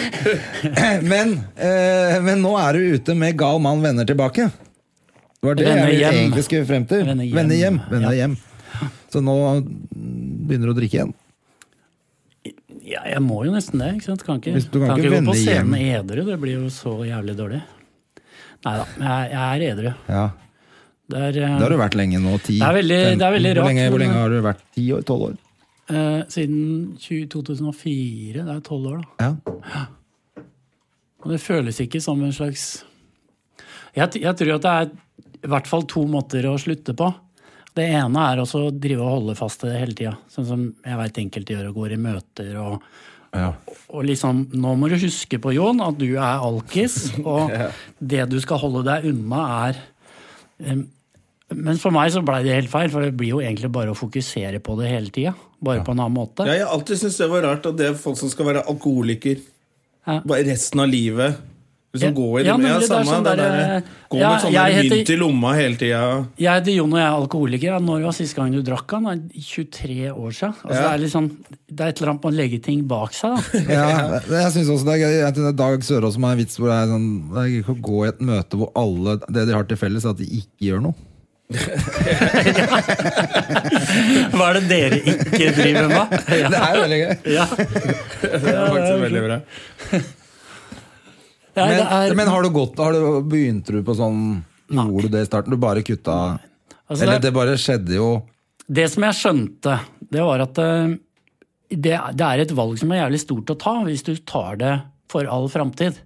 S1: Men, eh, men nå er du ute med Gal mann vender tilbake. Det var det
S3: Vende
S1: jeg
S3: hjem.
S1: egentlig skulle frem til.
S3: Vende hjem.
S1: Vende hjem. Vende
S3: Ja.
S1: hjem. Så nå begynner du å drikke igjen.
S3: Ja, jeg må jo nesten det. ikke sant? Kan ikke,
S1: Hvis du kan ikke
S3: gå på
S1: vende
S3: scenen
S1: hjem.
S3: edru. Det blir jo så jævlig dårlig. Nei da, jeg, jeg er edru.
S1: Ja,
S3: Det er, eh,
S1: Det har du vært lenge nå. 10,
S3: Det er veldig- det er veldig
S1: hvor,
S3: rart,
S1: lenge, hvor
S3: men-
S1: lenge har du vært? 10 år? 12 år?
S3: eh, siden 20, 2004. Det er tolv år, da.
S1: Ja.
S3: Og det føles ikke som en slags jeg, t- jeg tror at det er i hvert fall to måter å slutte på. Det ene er også å drive og holde fast til det hele tida. Sånn som jeg veit enkelte gjør og går i møter og Og liksom, nå må du huske på, Jon, at du er alkis, og det du skal holde deg unna, er um, Men for meg så blei det helt feil, for det blir jo egentlig bare å fokusere på det hele tida. Bare på en annen måte.
S2: Ja, jeg har alltid syntes det var rart at det er folk som skal være alkoholiker
S3: Ja.
S2: bare resten av livet. Liksom
S3: Ja.
S2: gå i
S3: Ja,
S2: dem.
S3: nemlig,
S2: Ja,
S3: det er
S2: samme,
S3: sånn
S2: det
S3: der,
S2: der,
S3: eh,
S2: gå
S3: ja,
S2: med sånn
S3: jeg
S2: der
S3: heter-
S2: mynt i lomma hele tida.
S3: Jeg heter Jon, og jeg er alkoholiker. Ja, Når var siste gang du drakk han? Nei, 23 år siden. Altså,
S2: Ja.
S3: det, er litt sånn, det er et eller annet med å legge ting bak seg. Da.
S1: Ja, jeg synes også det er gøy at det er Dag Sørås som har en vits hvor det er sånn Det er ikke å gå i et møte hvor alle det de har til felles, er at de ikke gjør noe.
S3: Hva er det dere ikke driver med? Ja.
S1: Det er jo veldig gøy.
S3: Ja.
S2: Det er faktisk veldig bra.
S3: Nei,
S1: Men,
S3: det er,
S1: men har du gått har du, Begynte du på sånn
S3: Nei.
S1: Gjorde du det i starten? Du bare kutta
S3: altså,
S1: Eller
S3: det-
S1: det bare skjedde jo
S3: Det som jeg skjønte, det var at eh, det, det er et valg som er jævlig stort å ta hvis du tar det for all framtid.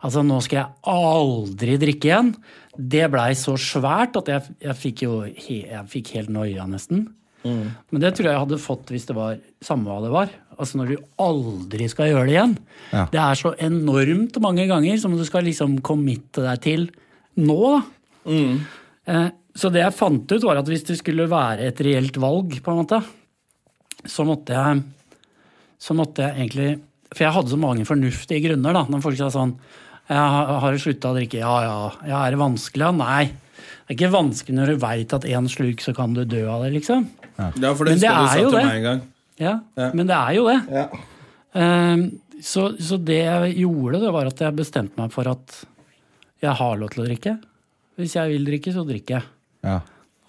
S3: Altså, nå skal jeg aldri drikke igjen. Det blei så svært at jeg, jeg fikk jo he, jeg fikk helt noia, nesten. Men det tror jeg jeg hadde fått hvis det var samme hva det var. Altså når du aldri skal gjøre det igjen.
S1: Ja.
S3: Det er så enormt mange ganger som du skal liksom committe deg til nå, da. Eh, Så det jeg fant ut, var at hvis det skulle være et reelt valg, på en måte, så måtte jeg, så måtte jeg egentlig For jeg hadde så mange fornuftige grunner, da. Når folk sa sånn Jeg har har slutta å drikke. Ja, ja. ja. Er det vanskelig? Ja, nei. Det er ikke vanskelig når du veit at én slurk, så kan du dø av det, liksom.
S2: Ja, for det
S3: Men det
S2: husker jeg
S3: er
S2: du
S3: jo
S2: sa til
S3: det.
S2: meg en gang.
S3: Ja,
S2: Ja.
S3: Men det er jo det.
S2: Ja.
S3: Ehm, Så, så det jeg gjorde, det var at jeg bestemte meg for at jeg har lov til å drikke. Hvis jeg vil drikke, så drikker jeg.
S1: ja.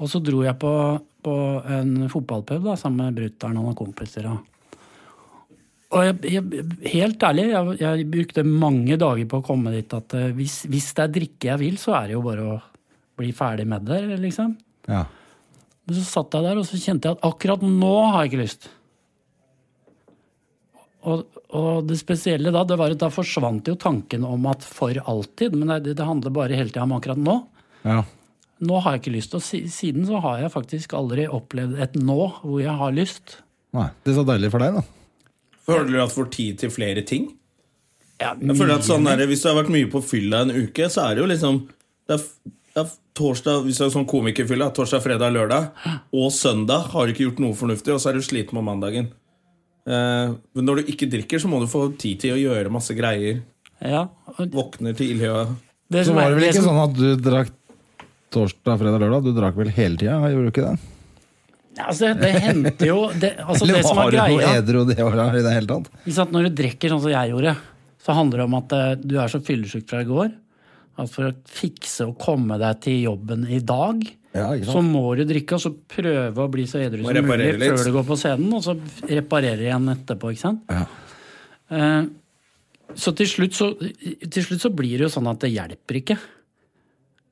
S3: Og så dro jeg på, på en fotballpub da, sammen med brutter'n og noen kompiser. Og og jeg, jeg, helt ærlig, jeg, jeg brukte mange dager på å komme dit at eh, hvis, hvis det er drikke jeg vil, så er det jo bare å bli ferdig med det, liksom.
S1: Ja.
S3: Men så satt jeg der, og så kjente jeg at akkurat nå har jeg ikke lyst. Og, og det spesielle da, det var at da forsvant jo tanken om at for alltid, men det, det handler bare hele tida om akkurat nå.
S1: Ja.
S3: Nå har jeg ikke lyst. Og si, siden så har jeg faktisk aldri opplevd et nå hvor jeg har lyst.
S1: Nei, det er så deilig for deg, da.
S2: Føler du at får tid til flere ting?
S3: Ja,
S2: Jeg føler at
S3: mye
S2: sånn der, Hvis du har vært mye på fylla en uke, så er det jo liksom det er, f- det er torsdag, Hvis du er sånn komikerfylla, torsdag, fredag, lørdag og søndag har du ikke gjort noe fornuftig, og så er du sliten på mandagen. Eh, men når du ikke drikker, så må du få tid til å gjøre masse greier.
S3: Ja, og
S2: Våkner til ildhøa.
S3: det
S1: Så
S3: som
S1: var det
S3: er-
S1: vel
S3: det
S1: ikke
S3: som-
S1: sånn at du drakk torsdag, fredag, lørdag? Du drakk vel hele tida? Gjorde du ikke det?
S3: Altså, det, det hendte jo det, altså,
S1: Eller
S3: det som er
S1: var du noe
S3: greia
S1: edru det året i det hele tatt?
S3: ikke sant, Når du drikker sånn som jeg gjorde, så handler det om at eh, du er så fyllesyk fra i går at for å fikse og komme deg til jobben i dag,
S1: Ja, ikke sant?
S3: så må du drikke og så prøve å bli så edru som mulig
S2: reparere litt.
S3: før du går på scenen, og så reparere igjen etterpå. ikke sant?
S1: Ja.
S3: Eh, Så til slutt så, til slutt så blir det jo sånn at det hjelper ikke.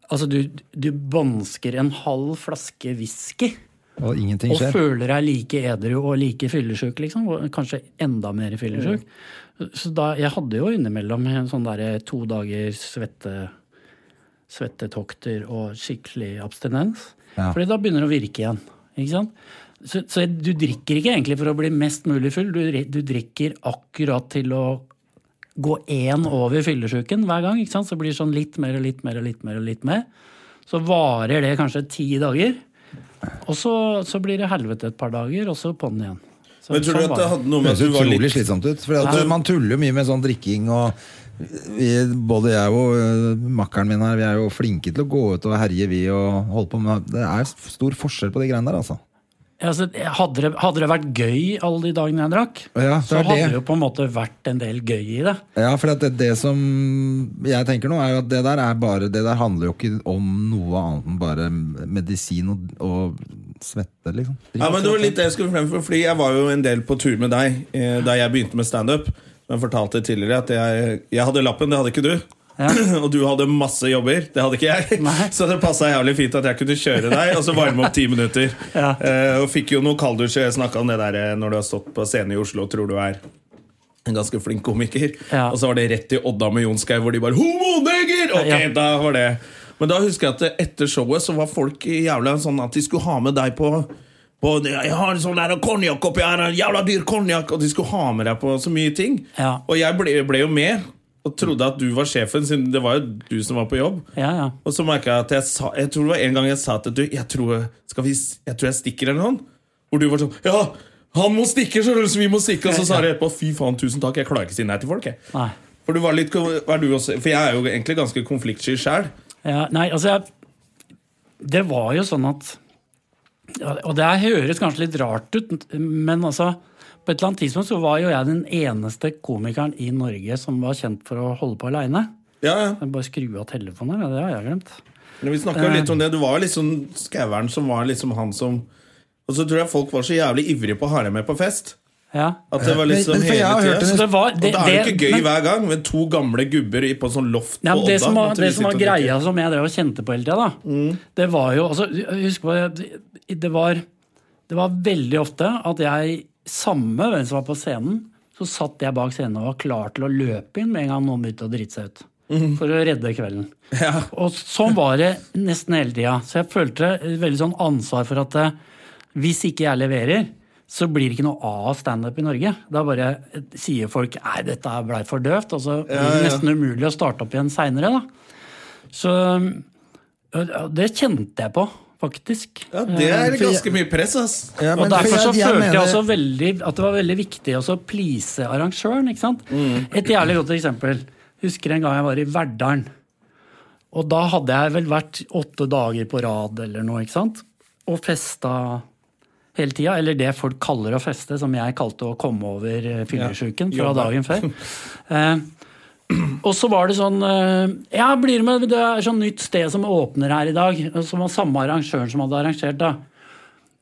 S3: Altså, du, du bansker en halv flaske whisky
S1: Og ingenting
S3: og
S1: skjer?
S3: føler deg like edru og like fyllesyk, liksom. og Kanskje enda mer fyllesyk. Så da, jeg hadde jo innimellom en sånn derre to dager svette, svettetokter og skikkelig abstinens.
S1: Ja.
S3: Fordi da begynner det å virke igjen. ikke sant? Så, så du drikker ikke egentlig for å bli mest mulig full, du, dri- du drikker akkurat til å gå én over fyllesyken hver gang. ikke sant? Så blir det sånn litt mer og litt mer og litt mer. og litt mer. Så varer det kanskje ti dager. Og så, så blir det helvete et par dager, og så på'n igjen. Så,
S2: Men tror du
S3: sånn
S2: at
S3: var
S2: det hadde noe
S1: Det
S2: med at
S1: høres
S2: du var
S1: utrolig
S2: litt
S1: slitsomt ut. For at man tuller jo mye med sånn drikking og vi, Både jeg og øh, makkeren min her, vi er jo flinke til å gå ut og herje, vi, og holde på med Det er stor forskjell på de greiene der, altså.
S3: Ja, altså, hadde, det, hadde det vært gøy alle de dagene jeg drakk,
S1: Ja, det
S3: så
S1: er
S3: hadde
S1: det.
S3: det jo på en måte vært en del gøy i det.
S1: Ja, for at det, det som jeg tenker nå, er jo at det der, er bare, det der handler jo ikke om noe annet enn bare medisin og, og svette, liksom.
S2: Ja, men det var litt det jeg skulle frem for, fordi jeg var jo en del på tur med deg eh, da jeg begynte med standup. Jeg fortalte tidligere at jeg, jeg hadde lappen, det hadde ikke du. Og du hadde masse jobber, det hadde ikke jeg.
S3: Nei.
S2: Så det passa jævlig fint at jeg kunne kjøre deg og så varme opp ti minutter.
S3: Ja.
S2: Eh, og fikk jo noe kalddusj. Jeg snakka om det der eh, når du har stått på scenen i Oslo og tror du er en ganske flink komiker.
S3: Ja.
S2: Og så var det rett til Odda med Jon Skau, hvor de bare 'Homoneger!' Ok,
S3: Ja.
S2: da var det Men da husker jeg at etter showet så var folk jævla sånn at de skulle ha med deg på på, jeg har en sånn der konjakk oppi her, en jævla dyr konjakk! Og de skulle ha med deg på så mye ting.
S3: Ja.
S2: Og jeg ble, ble jo med, og trodde at du var sjefen, siden det var jo du som var på jobb.
S3: Ja, ja.
S2: Og så merket jeg at jeg sa Jeg tror det var en gang jeg sa til du Jeg tror, skal vi, s- jeg, tror jeg stikker eller noe Hvor du var sånn Ja, han må stikke Så så vi må stikke Og så sa jeg etterpå Fy faen, tusen takk Jeg klarer ikke å si nei til folk jeg.
S3: Nei.
S2: For du var litt var du også, For jeg er jo egentlig ganske konfliktsky selv
S3: Ja, nei, altså jeg, Det var jo sånn at ja, Og det her høres kanskje litt rart ut, men altså På et eller annet tidspunkt så var jo jeg den eneste komikeren i Norge som var kjent for å holde på aleine.
S2: Ja, ja
S3: Bare skru av telefonen her, ja, det har jeg glemt.
S2: Men vi snakket jo litt om det Du var jo liksom skaueren som var liksom han som Og så tror jeg folk var så jævlig ivrige på å ha deg med på fest
S3: Ja.
S2: At det var liksom
S1: Men- men for jeg har
S2: hele
S1: hørt
S2: tiden
S1: en-
S3: Så det var,
S2: og da er det jo
S3: det-
S2: ikke gøy
S3: men-
S2: hver gang Med to gamle gubber i- på sånn loft
S3: Ja,
S2: på
S3: men det
S2: Odda,
S3: som var,
S2: måtte vi
S3: det
S2: sitte
S3: som var
S2: og Mm. drikke.
S3: greia som jeg drev og kjente på hele tida, da, det var jo altså, Husk på det, det var, det var veldig ofte at jeg, samme hvem som var på scenen, så satt jeg bak scenen og var klar til å løpe inn med en gang noen begynte å drite seg ut.
S2: Mm.
S3: For å redde kvelden. Og sånn var det nesten hele tida. Så jeg følte et veldig sånn ansvar for at eh, hvis ikke jeg leverer, så blir det ikke noe av standup i Norge. Da bare sier folk nei, dette er blei for døvt, og så blir det nesten umulig å starte opp igjen seinere. Så øh, det kjente jeg på, faktisk.
S2: Ja, det er ganske mye press ass
S1: Ja,
S3: Og
S1: men for
S3: Derfor så
S1: jeg- jeg
S3: følte jeg
S1: mener-
S3: også veldig at det var veldig viktig også å please arrangøren. ikke sant? Et jævlig godt eksempel. Husker en gang jeg var i Verdalen. Og da hadde jeg vel vært åtte dager på rad eller noe, ikke sant? Og festa hele tida. Eller det folk kaller å feste, som jeg kalte å komme over eh, fyllesyken fra
S2: jobba.
S3: dagen før. Eh, Og så var det sånn eh, Ja, blir du med? Det er sånn nytt sted som åpner her i dag. Som var samme arrangøren som hadde arrangert, da.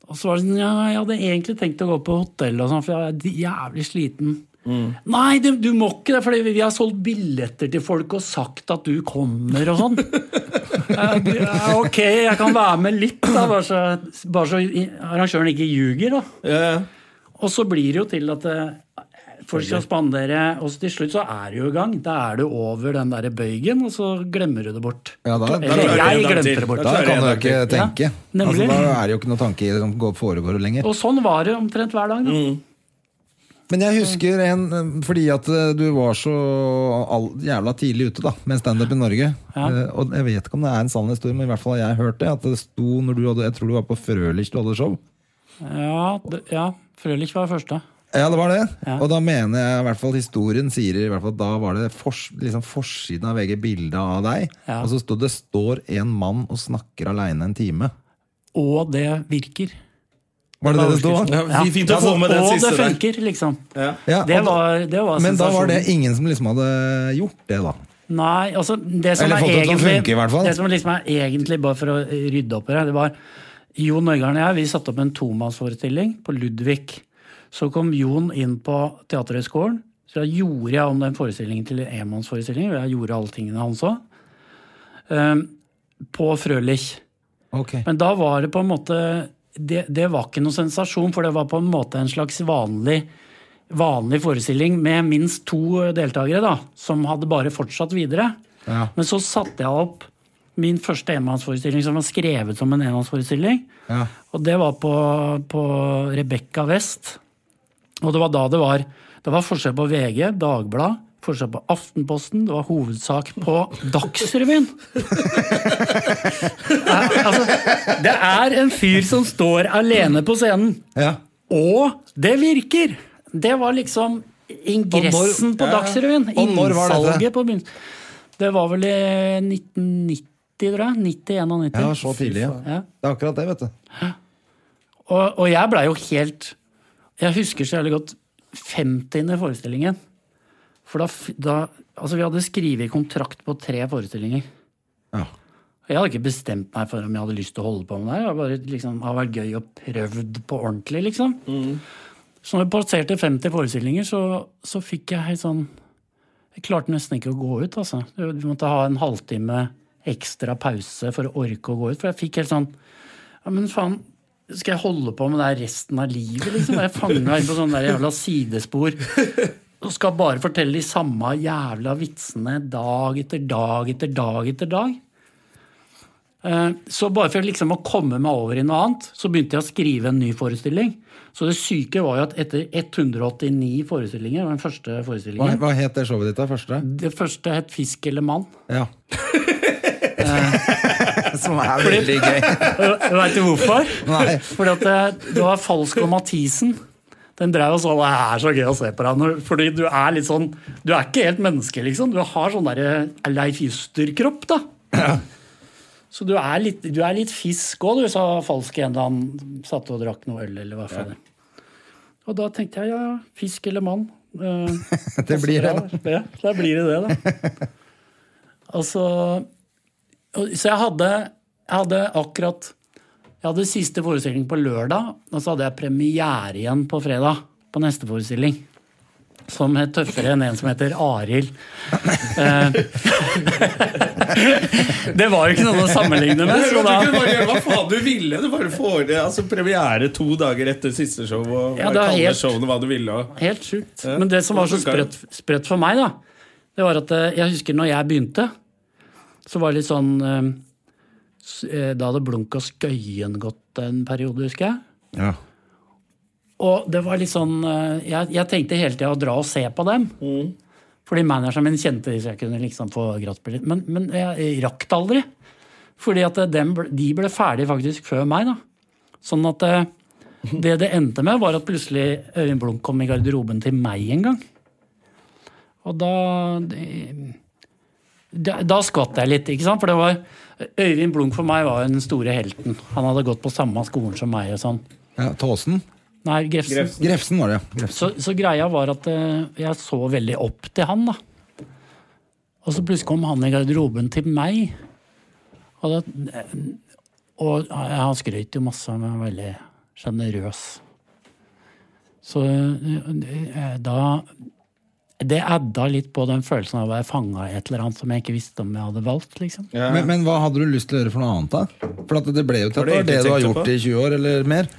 S3: Og så var det sånn Ja, jeg hadde egentlig tenkt å gå på hotell og sånn, for jeg er jævlig sliten. Nei, du, du må ikke det, for vi har solgt billetter til folk og sagt at du kommer og sånn. Eh, du- eh, ok, jeg kan være med litt, da, bare så, bare så i- arrangøren ikke ljuger, da.
S2: Ja,
S3: Og så blir det jo til at eh, folk skal spandere, og så til slutt så er det jo i gang. Da er du over den der bøygen, og så glemmer du det bort.
S1: Ja, da- da klarer
S2: du det
S3: Eller jeg
S2: en gang
S3: glemte
S2: til.
S3: det bort.
S1: Da
S2: Da klarer jeg
S1: kan du
S2: det
S1: jo ikke
S2: ikke.
S1: tenke.
S3: Ja,
S1: altså,
S3: nemlig.
S1: da er det jo ikke noe tanke i liksom, det som går- foregår lenger.
S3: Og sånn var det omtrent hver dag. Da.
S1: Men jeg husker en eh, fordi at eh, du var så all, jævla tidlig ute da, med standup i Norge. Eh, Og jeg vet ikke om det er en sann historie, men i hvert fall har jeg hørt det. At det sto når du hadde, jeg tror du var på Frølich du hadde show.
S3: Ja, det, ja, Frølich var første.
S1: Ja, det var det. Og da mener jeg i hvert fall historien sier i hvert fall at da var det fors, liksom forsiden av VG bilde av deg.
S3: Ja.
S1: Og så sto det 'står en mann og snakker aleine en time'.
S3: Og det virker.
S1: Var det det det sto?
S3: sånn.
S2: Ja, vi- Fint å få med den
S3: og
S2: siste
S3: det
S2: der.
S3: funker, liksom.
S1: Ja, altså
S3: Det
S1: og-
S3: var, det var
S1: men da var
S3: sensasjonen.
S1: det ingen som liksom hadde gjort det, da.
S3: Nei, altså det som
S1: Eller
S3: er
S1: fått det til å
S3: egentlig
S1: funke, i hvert fall.
S3: Det som liksom er egentlig, bare for å rydde opp i det, det var Jon Øigarden og jeg, vi satte opp en tomannsforestilling på Ludvig. Så kom Jon inn på Teaterhøgskolen. Så da gjorde jeg om den forestillingen til en enmannsforestilling, og jeg gjorde alle tingene hans òg. På Frølich.
S1: Ok.
S3: Men da var det på en måte det, det var ikke noe sensasjon, for det var på en måte en slags vanlig, vanlig forestilling med minst to deltakere, da, som hadde bare fortsatt videre.
S1: Ja.
S3: Men så satte jeg opp min første enmannsforestilling, som var skrevet som en enmannsforestilling.
S1: Ja.
S3: Og det var på, på Rebekka West. Og det var da det var Det var forskjell på VG, Dagblad, forskjell på Aftenposten, det var hovedsak på Dagsrevyen. Eh, altså, det er en fyr som står alene på scenen.
S1: Ja.
S3: Og det virker! Det var liksom ingressen
S1: Og når-
S3: på Dagsrevyen.
S1: Og når var dette?
S3: Innsalget på begynnelsen. Det var vel i 1990, tror jeg. 90-91.
S1: ja, så tidlig, ja.
S3: Ja.
S1: Det er akkurat det, vet du.
S3: Og, og jeg blei jo helt Jeg husker så jævlig godt 50. forestillingen. For da, f- da Altså, vi hadde skrevet kontrakt på tre forestillinger.
S1: Ja.
S3: Og Jeg hadde ikke bestemt meg for om jeg hadde lyst til å holde på med det. her. Det har bare liksom, har vært gøy og prøvd på ordentlig, liksom. Så når vi passerte 50 forestillinger, så, så fikk jeg helt sånn Jeg klarte nesten ikke å gå ut, altså. Du måtte ha en halvtime ekstra pause for å orke å gå ut. For jeg fikk helt sånn Ja, men faen. Skal jeg holde på med det her resten av livet, liksom? Jeg er fanga inn på sånne der jævla sidespor. Og skal bare fortelle de samme jævla vitsene dag etter dag etter dag etter dag. Eh, Så bare for liksom å komme meg over i noe annet, så begynte jeg å skrive en ny forestilling. Så det syke var jo at etter 189 forestillinger, det var den første
S1: Hva,
S3: forestillingen
S1: hva het det showet ditt, da? Første?
S3: Det første het 'Fisk eller mann'.
S1: Ja. Som er veldig gøy.
S3: Veit du hvorfor?
S1: Nei.
S3: Fordi at eh, det, det var Falsk og Mathisen. Den drev og sånn Det er så gøy å se på deg. når- Fordi du er litt sånn Du er ikke helt menneske, liksom. Du har sånn derre Leif Juster-kropp, da. Så du er litt, du er litt fisk òg, du, sa Falsk en da han satt og drakk noe øl, eller hva faen. Og da tenkte jeg ja, fisk eller mann. Eh,
S1: Det blir det, da.
S3: ja, Ja, da blir det det, da. Altså og- Så jeg hadde, jeg hadde akkurat Jeg hadde siste forestilling på lørdag, og så hadde jeg premiere igjen på fredag. På neste forestilling. Som het tøffere enn en som heter Arild. Eh, det var jo ikke noe å sammenligne med.
S2: Du
S3: Så
S2: kunne
S3: da,
S2: bare gjøre hva faen du ville. Du bare får det altså, premiere to dager etter siste show. Og
S3: Ja,
S2: bare
S3: det er
S2: kalle
S3: helt-
S2: showene hva du ville. Og.
S3: helt sjukt. Men det som var så
S2: det funker jo.
S3: sprøtt, sprøtt for meg, da, det var at eh, jeg husker når jeg begynte, så var det litt sånn eh, s- eh, Da hadde Blunk og Skøyen gått en periode, husker jeg.
S1: Ja.
S3: Og det var litt sånn eh, Jeg, jeg tenkte hele tida å dra og se på dem. Fordi manageren min kjente de, så jeg kunne liksom få gratisbillett. Men, men jeg rakk det aldri. Fordi at eh, dem, ble- de ble ferdig faktisk før meg, da. Sånn at eh, det det endte med, var at plutselig Øyvind Blunk kom i garderoben til meg en gang. Og da da, da skvatt jeg litt, ikke sant? For det var Øyvind Blunk for meg var jo den store helten. Han hadde gått på samme skolen som meg og sånn.
S1: ja. Tåsen?
S3: Nei, Grefsen.
S1: Grefsen var det, ja. Grefsen.
S3: Så, så greia var at eh, jeg så veldig opp til han, da. Og så plutselig kom han i garderoben til meg. Og, da, eh, og han skrøt jo masse, han var veldig sjenerøs. Så eh, da Det adda litt på den følelsen av å være fanga i et eller annet som jeg ikke visste om jeg hadde valgt. liksom.
S2: Ja.
S1: Men, men hva hadde du lyst til å gjøre for noe annet, da? For at det ble jo til at det
S2: Har
S1: var
S2: du
S1: det du har
S2: egentlig
S1: gjort i 20 år, eller mer.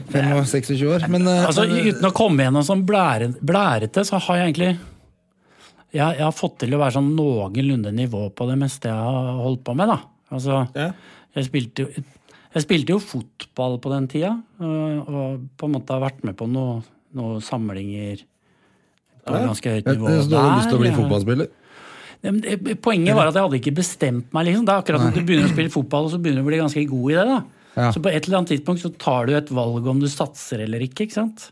S1: 25-26 år. Men, eh,
S3: Altså,
S1: men,
S3: Uten å komme gjennom sånn blære, blærete, så har jeg egentlig jeg, jeg har fått til å være sånn noenlunde nivå på det meste jeg har holdt på med. da. Altså,
S2: Ja.
S3: jeg, spilte jo, jeg spilte jo fotball på den tida, og, og på en måte har vært med på noen noe samlinger på ganske høyt
S1: eh,
S3: nivå.
S1: Så du hadde lyst til å bli
S3: Der, ja.
S1: fotballspiller?
S3: Ja, men det- Poenget var at jeg hadde ikke bestemt meg. Liksom. Det er akkurat som Du begynner å spille fotball, og så begynner du å bli ganske god i det. da.
S1: Ja.
S3: Så på et eller annet tidspunkt så tar du et valg om du satser eller ikke. ikke sant?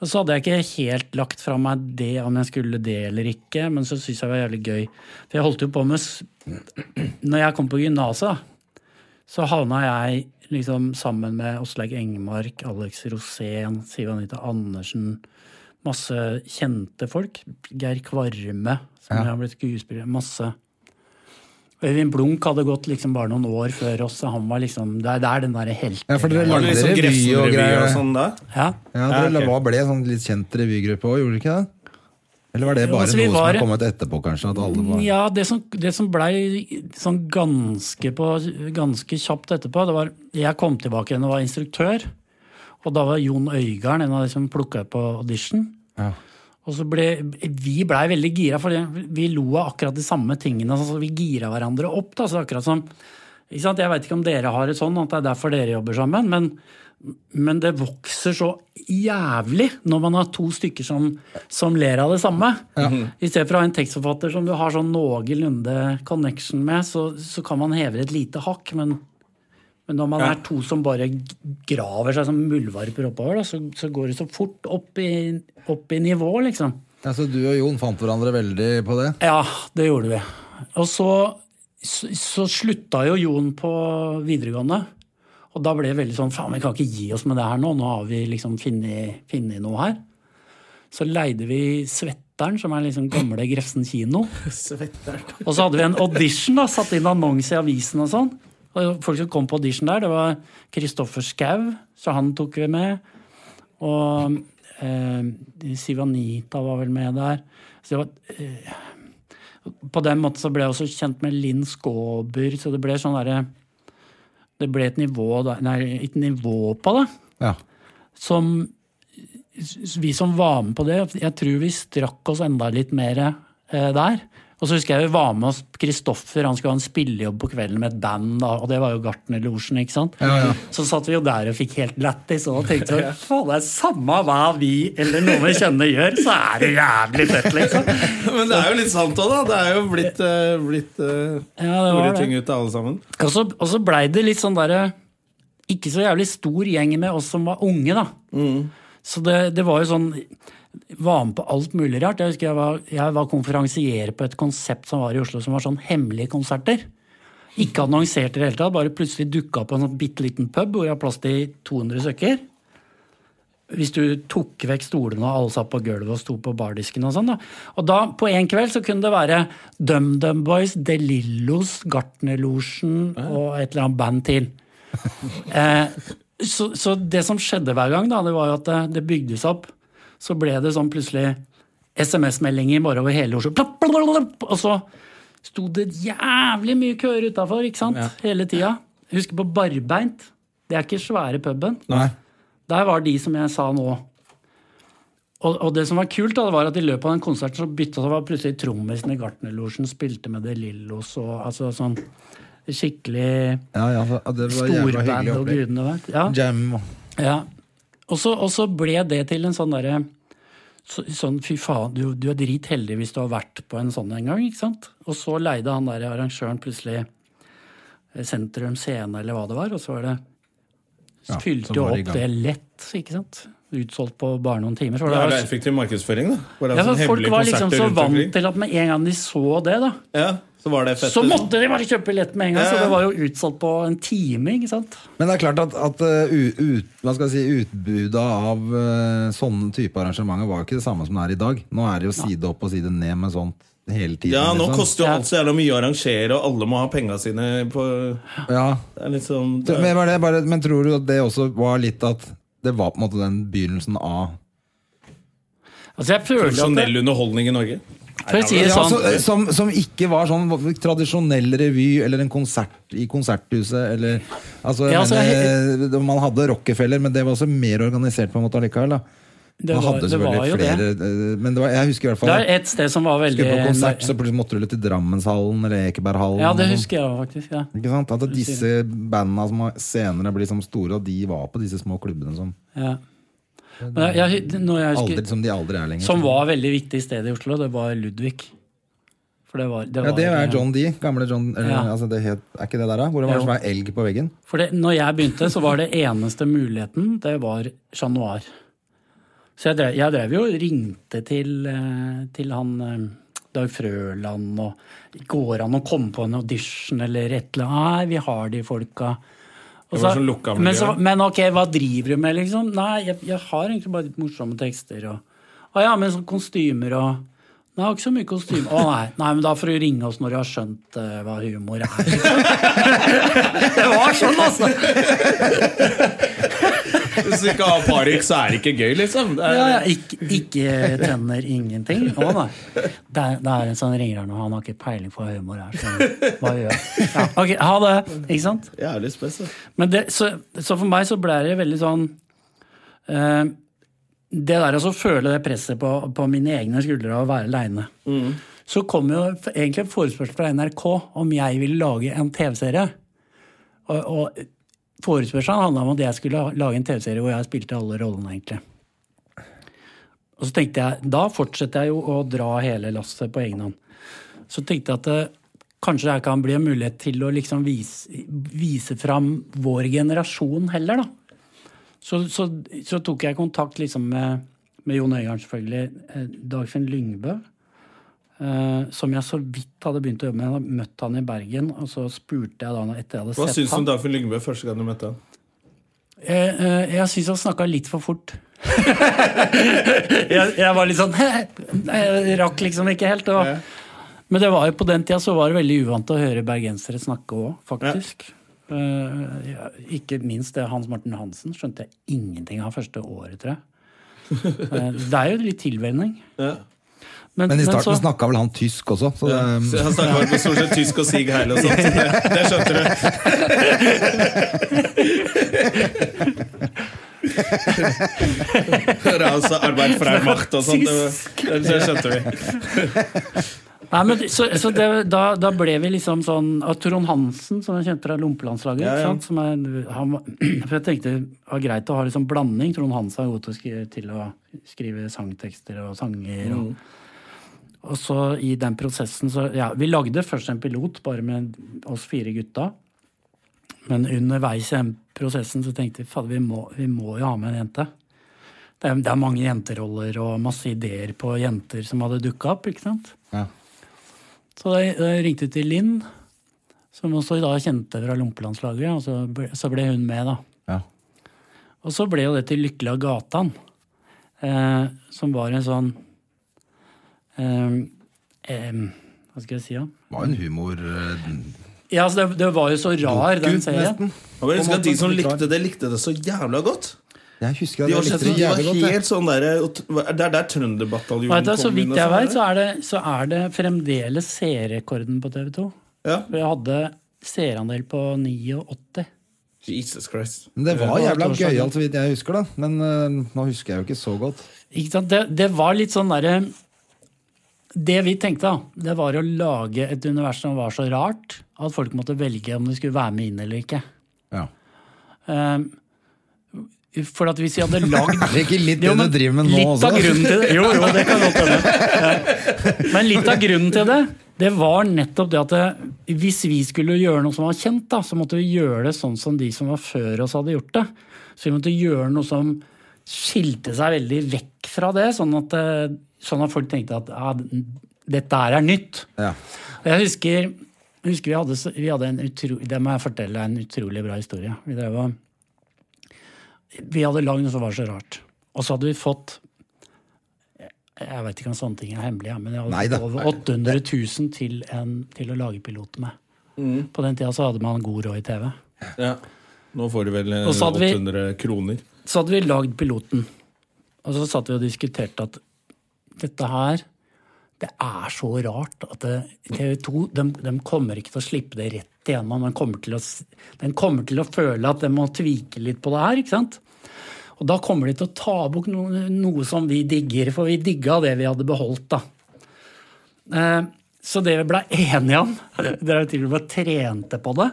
S3: Og så hadde jeg ikke helt lagt fra meg det om jeg skulle det eller ikke, men så syntes jeg det var jævlig gøy. For jeg holdt jo på med s- Når jeg kom på gymnaset, da, så havna jeg liksom sammen med Åslaug Engmark, Alex Rosén, Siv Anita Andersen masse kjente folk. Geir Kvarme, som
S1: Ja.
S3: har blitt skuespiller. Masse. Øyvind Blunk hadde gått liksom bare noen år før oss. og han var liksom, Det er der den derre helten
S1: Ja, for dere
S2: Var
S1: lagde
S2: det liksom
S1: revy og
S2: Grefsenrevy
S1: greier.
S2: og sånn da?
S3: Ja.
S1: Ja, dere
S2: Ja, ok.
S1: var- ble en sånn litt kjent revygruppe òg, gjorde dere ikke det? Eller var det
S3: Jo,
S1: bare
S3: altså, vi
S1: noe
S3: var-
S1: som har kommet etterpå, kanskje? At alle var...
S3: Ja, det som, det som blei sånn ganske, på, ganske kjapt etterpå, det var Jeg kom tilbake igjen og var instruktør. Og da var Jon Øigarden en av de som plukka på audition.
S1: Ja.
S3: Og så ble, Vi blei veldig gira, for vi lo av akkurat de samme tingene. Altså, vi gira hverandre opp. Da, så det er akkurat som, ikke sant? Jeg veit ikke om dere har det sånn, at det er derfor dere jobber sammen, men, men det vokser så jævlig når man har to stykker som, som ler av det samme. Mhm. I stedet for å ha en tekstforfatter som du har sånn noenlunde connection med, så, så kan man heve et lite hakk, men, men når man
S2: Ja.
S3: er to som bare g- graver seg som muldvarper oppover, da, så, så går det så fort opp i, opp i nivå, liksom.
S1: Ja, så Altså, du og Jon fant hverandre veldig på det?
S3: Ja, det gjorde vi. Og så, så, så slutta jo Jon på videregående. Og da ble det veldig sånn faen, vi kan ikke gi oss med det her nå. Nå har vi liksom funnet funnet noe her. Så leide vi Svetteren, som er liksom gamle Grefsen kino. Og så hadde vi en audition, da, satt inn annonse i avisen og sånn. Og folk som kom på audition der, det var Kristoffer Skau, så han tok vi med. Og eh, Siv Anita var vel med der. Så det var, eh, på den måten så ble jeg også kjent med Linn Skåber, så det ble sånn derre Det ble et nivå, da, nei, et nivå på det
S1: Ja.
S3: som s- Vi som var med på det, jeg tror vi strakk oss enda litt mer eh, der. Og så husker jeg vi var med oss Kristoffer, han skulle ha en spillejobb på kvelden med et band, da, og det var jo Gartnerlosjen, ikke sant? Så satt vi jo der og fikk helt lættis, og da tenkte vi faen, det er samme hva vi eller noen vi kjenner gjør, så er det jævlig fett, liksom.
S2: Men det er jo litt sant òg, da. Det er jo blitt, eh, blitt eh,
S3: Ja, det var
S2: store
S3: det.
S2: ting ut av alle sammen.
S3: Og så, og så blei det litt sånn derre Ikke så jævlig stor gjeng med oss som var unge, da. Så det, det var jo sånn Var med på alt mulig rart. Jeg husker jeg var, jeg var konferansier på et konsept som var i Oslo, som var sånn hemmelige konserter. Ikke annonsert i det hele tatt, bare plutselig dukka opp på en sånn bitte liten pub hvor jeg har plass til 200 stykker. Hvis du tok vekk stolene og alle satt på gulvet og sto på bardisken og sånn, da. Og da, på en kveld, så kunne det være DumDum Boys, De Lillos, Gartnerlosjen og et eller annet band til. Eh, så, så det som skjedde hver gang, da, det var jo at eh, det, det bygde seg opp. Så ble det sånn plutselig SMS-meldinger bare over hele Oslo. Plopp, plopp, plopp, plopp, og så sto det jævlig mye køer utafor, ikke sant? Hele tida. Husker på Barbeint. Det er ikke svære puben.
S1: Nei.
S3: Der var de som jeg sa nå. Og, og det som var kult, da, det var at i løpet av den konserten så bytta det var plutselig trommisen i Gartnerlosjen spilte med De Lillos og altså sånn skikkelig
S1: Ja, ja, for- ja, det var jævla
S3: storband
S1: hyggelig
S3: og
S1: opplegg.
S3: gudene vet. Ja.
S1: Jam og
S3: Ja. Og så, og så ble det til en sånn derre så, Sånn fy faen, du, du er dritheldig hvis du har vært på en sånn en gang, ikke sant? Og så leide han der arrangøren plutselig eh, Sentrum Scene eller hva det var, og så var det
S1: Ja, så
S3: Fylte jo
S1: var det i
S3: opp
S1: gang.
S3: det lett, ikke sant? Utsolgt på bare noen timer. Så
S2: Det
S3: var
S2: er
S3: det,
S2: jo effektiv markedsføring, da. Hvor det er
S3: ja, for
S2: sånn
S3: folk
S2: hemmelige
S3: var liksom
S2: konserter
S3: så
S2: rundt omkring.
S3: vant til at med en gang de så det, da,
S2: Ja, så var det fett. liksom.
S3: så måtte de bare kjøpe billett med en gang.
S2: Ja,
S3: Så
S2: ja.
S3: det var jo utsolgt på en time, ikke sant?
S1: Men det er klart at, at uh, u- ut, hva skal jeg si, utbudet av eh, uh, sånne type arrangementer var jo ikke det samme som det er i dag. Nå er det jo side opp og side ned med sånt hele tiden.
S2: Ja, nå
S1: liksom.
S2: koster jo
S3: Sånn, Ja.
S2: alt så jævla mye å arrangere, og alle må ha penga sine på
S1: Ja.
S2: Det er litt sånn det,
S1: Men, var det bare, men tror du at det også var litt at det var på en måte den begynnelsen av
S3: Altså, jeg føler at det,
S2: Profesjonell underholdning i Norge.
S3: for å si det
S1: ja,
S3: sånn,
S1: altså, som, som ikke var sånn tradisjonell revy eller en konsert i Konserthuset eller altså, jeg
S3: Ja, altså,
S1: mener, eh, Man hadde Rockefeller, men det var også mer organisert på en måte allikevel. Da.
S3: det
S1: man
S3: var,
S1: hadde
S3: det var
S1: selvfølgelig
S3: jo det.
S1: flere eh, Men det var, jeg husker i hvert
S3: Det
S1: fall
S3: er et sted som var veldig
S1: skulle på konsert, så plutselig måtte du til Drammenshallen eller Ekeberghallen.
S3: Ja, det
S1: og sånn.
S3: husker jeg også, faktisk. Ja.
S1: Ikke sant? At disse bandene som har- senere blir som store, og de var på disse små klubbene som,
S3: Ja. Men jeg, jeg, når jeg husker,
S1: aldri, som de aldri er lenger.
S3: Som var veldig viktig sted i Oslo, det var Ludvig. For det var, det
S1: Ja,
S3: var,
S1: det er John D. Gamle John eller,
S3: Ja.
S1: altså det het, Er ikke det der, da? Hvor det var
S3: Jo.
S1: som var elg på veggen?
S3: For det, når jeg begynte, så var det eneste muligheten, det var Chat Noir. Så jeg drev, jeg drev jo og ringte til, eh, til han eh, Dag Frøland og Går an å komme på en audition eller et eller annet? Nei, vi har de folka. Og
S2: Det var
S3: så-
S2: sånn lukka
S3: men, så,
S2: miljø.
S3: men ok, hva driver du med, liksom? Nei, jeg, jeg har egentlig bare litt morsomme tekster. Og, å ja, men sånn kostymer og Nei, jeg har ikke så mye kostyme. Å nei, nei, men da får du ringe oss når du har skjønt eh, hva humor er. det var sånn, altså!
S2: Hvis du ikke har parykk, så er det ikke gøy, liksom. Det er,
S3: Ja, ja, ikke, ikke tenner, ingenting. Å, nei. Det, er, det er en sånn ringer her nå, han har ikke peiling på hva humor er. Så hva gjør jeg? Ja, ok, ha det! Ikke sant?
S2: Jævlig spes. altså. da.
S3: Men det, så, så for meg så ble det veldig sånn eh, Det der å så føle det presset på, på mine egne skuldre av å være aleine. Så kom jo f- egentlig en forespørsel fra NRK om jeg ville lage en TV-serie. Og, og forespørselen handla om at jeg skulle ha- lage en TV-serie hvor jeg spilte alle rollene, egentlig. Og så tenkte jeg, Da fortsetter jeg jo å dra hele lasset på egen hånd. Så tenkte jeg at eh, kanskje det her kan bli en mulighet til å liksom vise, vise fram vår generasjon heller, da. Så, så, så tok jeg kontakt liksom med, med Jon Øigarden, selvfølgelig. eh, Dagfinn Lyngbø. eh, som jeg så vidt hadde begynt å jobbe med. Jeg hadde møtt han i Bergen, og så spurte jeg da han etter jeg hadde
S2: Hva
S3: sett
S2: syns du
S3: han.
S2: om Dagfinn Lyngbø første gang du møtte han?
S3: Jeg, eh, jeg syns han snakka litt for fort. jeg, jeg var litt sånn Jeg rakk liksom ikke helt. Det var. Men det var jo på den tida så var det veldig uvant å høre bergensere snakke òg, faktisk. Eh, ja, ikke minst det Hans Morten Hansen skjønte jeg ingenting av første året, tror jeg. Eh, det er jo litt tilvenning.
S2: Ja.
S1: Men i starten
S3: så-
S1: snakka vel han tysk også? Så
S2: Ja.
S1: det,
S2: Så Han snakker bare på stort sett tysk og Sig Heil og sånt. så Det, det skjønte du. Raus altså arbeid freier macht og sånt. Det, det, det skjønte vi.
S3: Nei, men, så så det, da, da ble vi liksom sånn at Trond Hansen, som jeg kjente fra Lompelandslaget
S2: Ja, ja.
S3: ikke sant? Som er, han, var- For jeg tenkte det var greit å ha liksom blanding. Trond Hansen er god til å skrive, til å skrive sangtekster og sanger. Og,
S2: Mm.
S3: og så i den prosessen så Ja, vi lagde først en pilot bare med oss fire gutta. Men underveis i den prosessen så tenkte vi fader, vi, må- vi må jo ha med en jente. Det er, det er mange jenteroller og masse ideer på jenter som hadde dukka opp. ikke sant?
S1: ja.
S3: Så da da jeg ringte til Linn, som også da kjente fra Lompelandslaget, og så ble, så ble hun med, da.
S1: Ja.
S3: Og så ble jo det til Lykkelig av gatan, eh, som var en sånn eh, eh, Hva skal jeg si, da?
S1: Det var jo en humor eh,
S3: Ja, altså, det, det var jo så rar, den
S1: Gud,
S3: serien.
S1: nesten.
S2: Jeg bare husker at De som likte det, likte det så jævla godt.
S1: Jeg husker at
S2: De
S1: jeg
S2: var,
S1: likte det
S2: de var
S1: jævlig godt. jeg.
S2: helt sånn der, Det er der
S3: Og vet
S2: Trønderbataljonen
S3: du, så
S2: inn
S3: vidt
S2: og
S3: jeg
S2: sånn,
S3: vet, så er det, så er det fremdeles seerrekorden på TV 2.
S2: Ja.
S3: Vi hadde seerandel på 89.
S2: Jesus Christ.
S1: Men det var
S3: Ja,
S1: jævla
S3: torsdag.
S1: gøyalt, så vidt jeg husker, da. Men eh, nå husker jeg jo ikke så godt.
S3: Ikke sant? Det, det var litt sånn derre Det vi tenkte, da, det var å lage et univers som var så rart at folk måtte velge om de skulle være med inn eller ikke.
S1: Ja.
S3: Ehm, for at hvis vi hadde lagd
S1: Det er ikke litt
S3: Jo,
S1: det
S3: men
S1: du driver med nå
S3: litt
S1: også?
S3: Av grunnen til det, jo, jo, det kan godt hende. Ja. Men litt av grunnen til det, det var nettopp det at det, hvis vi skulle gjøre noe som var kjent, da, så måtte vi gjøre det sånn som de som var før oss hadde gjort det. Så vi måtte gjøre noe som skilte seg veldig vekk fra det, sånn at, eh, sånn at folk tenkte at ja, dette her er nytt.
S1: Ja.
S3: Og Jeg husker, jeg husker vi, hadde, så- vi hadde en utrolig Det må jeg fortelle er en utrolig bra historie. Vi, drev, og- vi hadde lagd noe som var så rart. Og så hadde vi fått Jeg vet ikke om sånne ting er hemmelige, men jeg hadde
S1: Nei da.
S3: fått over 800 000 til, en, til å lage piloter med. På den tida så hadde man god råd i TV.
S2: Ja. Nå får du vel eh,
S3: Og så hadde vi-
S2: 800 kroner.
S3: Så hadde vi lagd piloten, og så satt vi og diskuterte at dette her det er så rart at TV 2 de, de kommer ikke til å slippe det rett igjennom. Den kommer til å, s- den kommer til å føle at de må tvike litt på det her. ikke sant? Og da kommer de til å ta bort noe, noe som vi digger, for vi digga det vi hadde beholdt. da. Eh, Så det vi ble enige om, dere til og med trente på det,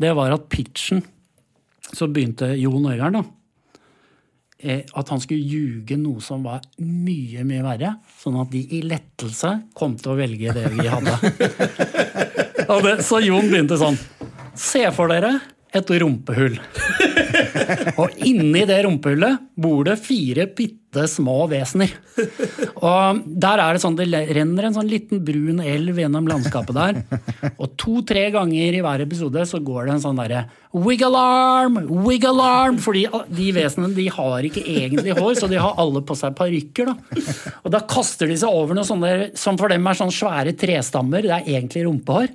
S3: det var at pitchen Så begynte Jon Øigarden, da. eh, At han skulle ljuge noe som var mye, mye verre. Sånn at de i lettelse kom til å velge det vi hadde. Og det, så Jon begynte sånn. Se for dere et rumpehull. Og inni det rumpehullet bor det fire bitte små vesener. Og der er det sånn, det renner en sånn liten brun elv gjennom landskapet der. Og to-tre ganger i hver episode så går det en sånn derre Wiggle arm! Wiggle arm! Fordi de vesenene de har ikke egentlig hår, så de har alle på seg parykker. da. Og da kaster de seg over noe sånne der, som for dem er sånn svære trestammer. Det er egentlig rumpehår.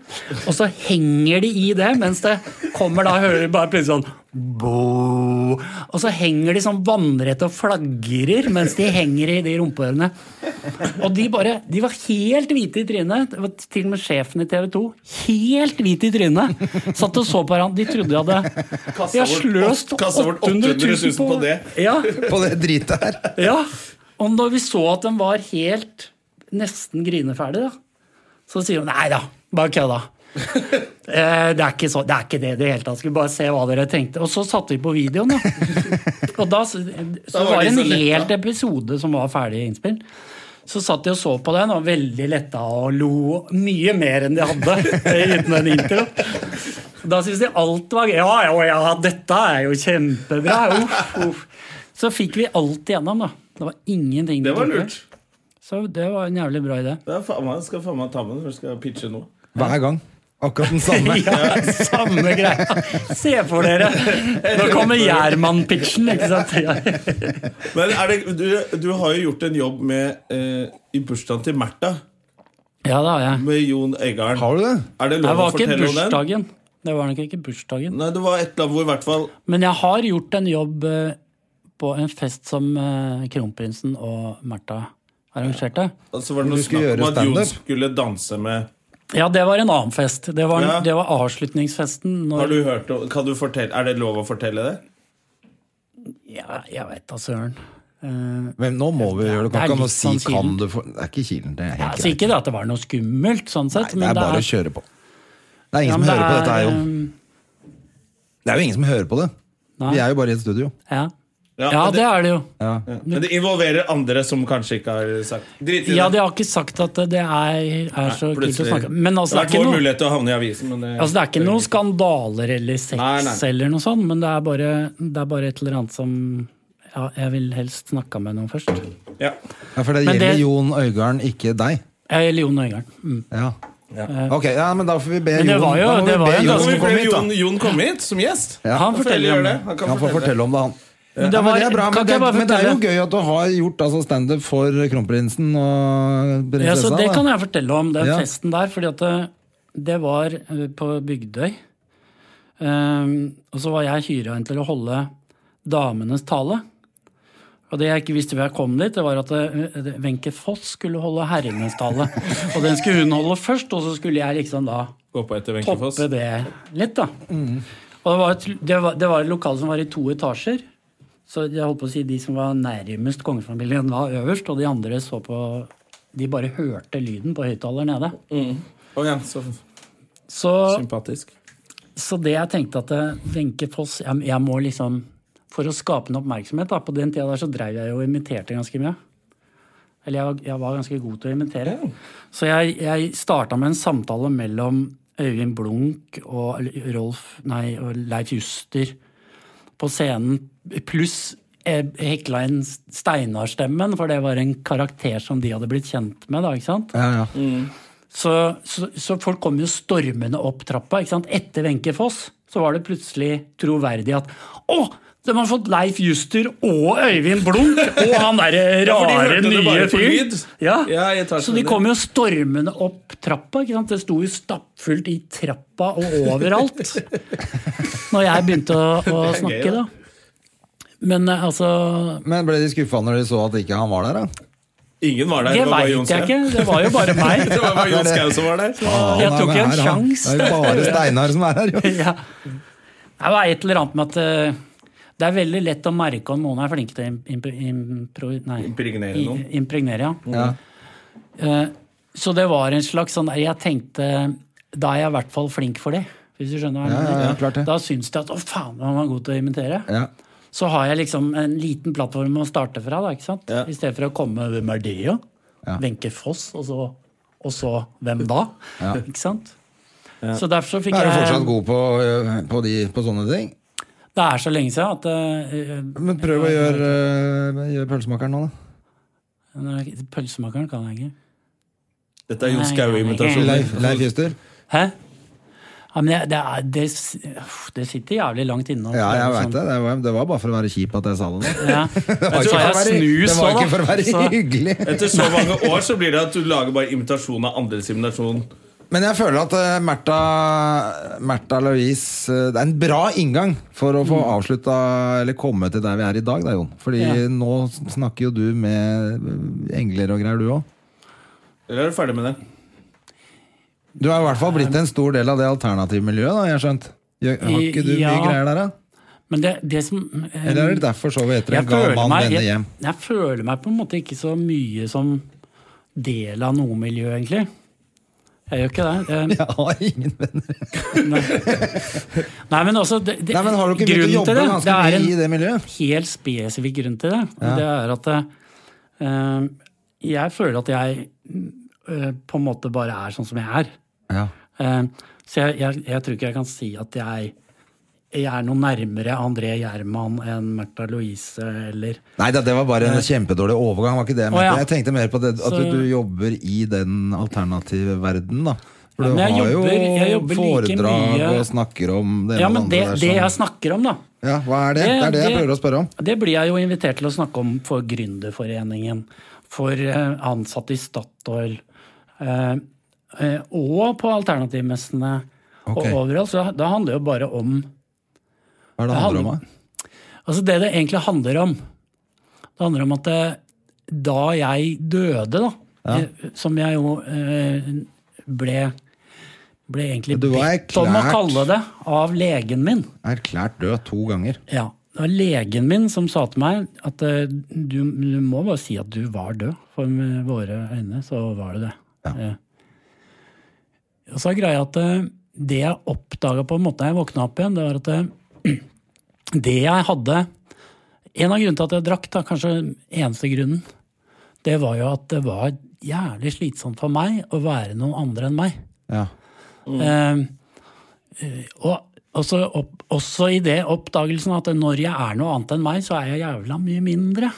S3: Og så henger de i det, mens det kommer da hører du bare plutselig sånn Bo. Og så henger de sånn vannrett og flagrer mens de henger i de rumpehørene. Og de bare, de var helt hvite i trynet. Det var Til og med sjefen i TV 2. Helt hvit i trynet! Satt og så på hverandre. De trodde de hadde De har
S2: bort-
S3: sløst
S2: kastet
S3: 800
S2: bort
S3: 000 på,
S2: 800 000 på det.
S3: Ja,
S1: På det dritet her.
S3: ja. Og når vi så at den var helt nesten grineferdig, da, så sier hun nei da, bare kødda. Eh, det, er ikke så, det er ikke det i det hele tatt. Skulle bare se hva dere tenkte. Og så satte vi på videoen, da. Og da, så, så
S2: var
S3: var det
S2: de så
S3: en
S2: letta.
S3: helt episode som var ferdig innspill. Så satt de og så på den og var veldig letta og lo mye mer enn de hadde uten en intro. Da syntes de alt var gøy. Ja, ja, ja, dette er jo kjempebra. Uff, uff. Så fikk vi alt igjennom, da. Det var ingenting. de
S2: Det var
S3: tok med.
S2: lurt.
S3: Så det var en jævlig bra idé.
S2: Det er faen meg, skal faen meg ta med når du skal pitche noe.
S1: Hver gang. Akkurat den samme.
S3: Ja, samme greia. Se for dere. Nå kommer Gjerman-pitchen, ikke sant? Ja.
S2: Men er det, du, du har jo gjort en jobb med eh, i bursdagen til Märtha,
S3: Ja, det har jeg.
S2: med Jon Eggarn.
S1: Har du det?
S2: Er det
S3: Det
S2: lov å
S3: var ikke
S2: fortelle om den?
S3: bursdagen. Det var nok ikke bursdagen.
S2: Nei, det var et eller annet hvor i hvert fall
S3: Men jeg har gjort en jobb eh, på en fest som eh, kronprinsen og Märtha arrangerte.
S2: Så altså var det
S1: Du
S2: noe
S1: skulle
S2: snakk om
S1: gjøre
S2: at Jon
S1: standup.
S2: skulle danse med
S3: Ja, det var en annen fest. Det var,
S2: Ja.
S3: det var avslutningsfesten.
S2: Har
S3: Når,
S2: du hørt om kan du fortelle, Er det lov å fortelle det?
S3: ja, jeg veit da søren. Eh,
S1: Men nå må vi gjøre det.
S3: Det er
S1: Kan, kan du
S3: litt
S1: si
S3: sånn
S1: kan
S3: kilen.
S1: du få Det er ikke kilen, det er helt
S3: altså,
S1: greit.
S3: ikke det at det var noe skummelt, sånn
S1: Nei,
S3: sett.
S1: det er bare å kjøre på. Det er ingen
S3: Ja,
S1: som
S3: men
S1: hører på dette her,
S3: er, um, eh,
S1: Jon. Det er jo ingen som hører på det.
S3: Nei.
S1: Vi er jo bare i et studio.
S3: eh, Ja,
S2: Ja,
S3: ja
S2: men
S3: det er det jo.
S2: ja. Men det involverer andre som kanskje ikke har sagt Drit i
S3: Ja,
S2: det.
S3: de har ikke sagt at det er, er så kult å
S2: plutselig.
S3: snakke om. Men altså,
S2: det har vært
S3: det er ikke
S2: vår
S3: noe
S2: mulighet til å havne i avisen, men eh, det,
S3: Altså, det er ikke noen skandaler eller sex
S2: Nei, nei.
S3: eller noe sånt, men det er bare, det er bare et eller annet som ja, Jeg vil helst snakke med noen først.
S2: ja.
S1: Ja, For det
S3: Men
S1: gjelder
S3: det-
S1: Jon Øigarden, ikke deg.
S3: Eller Jon Øigarden. Mm.
S1: Ja. Ok, ja, men da får vi be
S3: Men det
S1: Jon
S3: var jo-
S1: da må vi
S3: det var
S1: be
S3: jo en
S1: Jon
S2: Nå må vi
S1: komme
S2: be
S1: hit, da.
S2: Jon, Jon komme hit som gjest.
S1: Ja.
S3: Han forteller
S2: det.
S3: om det.
S2: Han kan
S1: Han får
S2: fortelle.
S1: fortelle om det, han.
S3: Men det
S1: Ja, men
S3: var-
S1: det er bra, men
S3: kan ikke
S1: det,
S3: jeg bare
S1: men det er jo
S3: fortelle?
S1: gøy at du har gjort altså, standup for kronprinsen og
S3: Ja, så
S1: prinsessa.
S3: det
S1: da.
S3: kan jeg fortelle om, den
S1: Ja.
S3: festen der. fordi at det, det var eh, på Bygdøy. Ehm, og så var jeg hyra inn til å holde damenes tale. Og det jeg ikke visste før jeg kom dit, det var at eh, Wenche Foss skulle holde herrenes tale. Og den skulle hun holde først, og så skulle jeg liksom da
S2: Gå på etter Wenche Foss.
S3: toppe det litt, da. Og det var, et, det, var, det var et lokale som var i to etasjer. Så jeg holdt på å si de som var nærmest kongefamilien, var øverst, og de andre så på De bare hørte lyden på høyttaler nede.
S2: Å ja, så
S3: Så,
S2: sympatisk.
S3: så det jeg tenkte at eh, Wenche Foss jeg, jeg må liksom For å skape en oppmerksomhet, da. På den tida der så dreiv jeg jo og imiterte ganske mye. Eller jeg, var- jeg var ganske god til å imitere. Så jeg, jeg starta med en samtale mellom Øyvind Blunk og L- Rolf, nei, og Leif Juster på scenen, pluss eh, hekla inn Steinar-stemmen, for det var en karakter som de hadde blitt kjent med. da, ikke sant?
S1: Ja, ja.
S3: Så, så, så folk kom jo stormende opp trappa. ikke sant? Etter Wenche Foss så var det plutselig troverdig at Å, De har fått Leif Juster og Øyvind Blunk og han derre
S2: Ja, for de
S3: rare
S2: hørte det
S3: nye
S2: bare på
S3: fyren.
S2: lyd.
S3: Ja.
S2: Ja, i etasjen
S3: Så de
S2: under.
S3: kom jo stormende opp trappa. Ikke sant? Det sto jo stappfullt i trappa og overalt Når jeg begynte å, å
S2: Det er gøy,
S3: snakke,
S2: da.
S3: da. Men eh, altså
S1: Men ble de skuffa når de så at ikke han var der, da?
S2: Ingen var der. det
S3: Det
S2: var bare Jon
S3: veit jeg
S2: Skau.
S3: ikke. Det var jo bare meg.
S2: Det var bare Jon Skau som var der.
S3: Jeg
S1: Han er
S3: tok
S1: med
S3: jo en
S1: her, han.
S3: sjans.
S1: Det er jo bare Steinar som er her. Jo.
S3: ja. Det var et eller annet med at eh, det er veldig lett å merke om noen er flinke til å imp impro... Nei.
S2: Impregnere
S3: I-
S2: noen.
S3: Impregnere, ja.
S1: Ja.
S3: Eh, Så det var en slags sånn Jeg tenkte Da er jeg i hvert fall flink for det. Hvis du skjønner hva jeg
S1: Ja, ja,
S3: mener.
S1: ja, klart det.
S3: Da syns de at å faen, han var god til å imitere.
S1: Ja.
S3: Så har jeg liksom en liten plattform å starte fra, da, ikke sant? i stedet for å komme Hvem er det, ja? Wenche Foss, og så, og så hvem da? Ikke sant? Så derfor så fikk
S1: Er du fortsatt
S3: jeg
S1: god på, ø, på, de, på sånne ting?
S3: Det er så lenge siden at eh,
S1: Men prøv å gjøre, ø, gjøre pølsemakeren nå, da.
S3: eh, Pølsemakeren kan jeg ikke.
S2: Dette er Jon
S1: Leif,
S2: Skau-imitasjoner.
S1: Leif Juster.
S3: Hæ? Ja, men det, det, er, det, s- uff, det sitter jævlig langt inne. å
S1: Ja, jeg
S3: prøve
S1: veit det. Det var, det var bare for å være kjip at jeg sa det. Da.
S3: sånn. Ja.
S1: var ikke for
S3: Så har
S1: å
S3: jeg
S1: være-
S3: snus
S1: det var
S3: også,
S1: ikke for å være
S3: da. Så-
S1: hyggelig.
S2: Etter så mange år så blir det at du lager bare imitasjon av andres imitasjon.
S1: Men jeg føler at eh, Märtha Märtha Louise eh, Det er en bra inngang for å få avslutta Eller komme til der vi er i dag, da, Jon. Fordi
S3: Ja.
S1: nå snakker jo du med eh, engler og greier, du òg.
S2: Eller er du ferdig med det?
S1: Du har i hvert fall blitt en stor del av det alternative miljøet, da, jeg har skjønt. Gjør- Har ikke du
S3: Ja.
S1: mye greier der, da?
S3: Men det, det som eh,
S1: Eller er det derfor så vi etter
S3: jeg
S1: en gal
S3: føler,
S1: mann
S3: meg,
S1: vender
S3: jeg,
S1: hjem?
S3: jeg føler meg på en måte ikke så mye som del av noe miljø, egentlig. Jeg gjør ikke det. Eh,
S1: Jeg har ingen venner.
S3: Nei, men også det, det,
S1: Nei, men Har du ikke begynt å
S3: grunnen til
S1: jobbe
S3: det,
S1: ganske
S3: det er
S1: mye
S3: en-
S1: i det miljøet?
S3: helt spesifikk grunn til det. og
S1: Ja.
S3: Det er at eh, jeg føler at jeg eh, på en måte bare er sånn som jeg er.
S1: Ja.
S3: Eh, så jeg, jeg, jeg tror ikke jeg kan si at jeg, jeg er noe nærmere André Gjerman enn Märtha Louise eller
S1: Nei da, det var bare en kjempedårlig overgang. var ikke det Jeg,
S3: Å,
S1: mente.
S3: ja.
S1: jeg tenkte mer på det, at
S3: Så-
S1: du jobber i den alternative verden, da. For du
S3: Ja, men jeg
S1: har jo
S3: jobber- jeg jobber like
S1: foredrag
S3: mye-
S1: og snakker om det ene
S3: Ja,
S1: og
S3: men det,
S1: andre. der,
S3: det
S1: så-
S3: jeg snakker om, da.
S1: ja, hva er det? Det, er det jeg prøver å spørre om.
S3: Det blir jeg jo invitert til å snakke om for Gründerforeningen, for eh, ansatte i Statoil, eh, eh, og på alternativmessene
S1: Ok.
S3: og overalt. Så da handler det jo bare om
S1: Hva er det
S3: det
S1: det handler om?
S3: handler-
S1: da?
S3: Altså det det egentlig handler om, det handler om at eh, da jeg døde, da, eh, som jeg jo eh, ble, ble egentlig
S1: Du var
S3: bedt om å
S1: erklært-
S3: kalle det av legen min.
S1: Erklært død to ganger.
S3: Ja. Det var legen min som sa til meg at eh, du, du må bare si at du var død. For med våre øyne så var du det. Eh, Og så er greia at eh, det jeg oppdaga på en måte da jeg våkna opp igjen, det var at eh, det jeg hadde En av grunnene til at jeg drakk, da, kanskje eneste grunnen, det var jo at det var jævlig slitsomt for meg å være noen andre enn meg.
S1: Ja.
S3: Eh, Ehm, eh, og også, opp, også i det oppdagelsen at når jeg er noe annet enn meg, så er jeg jævla mye mindre.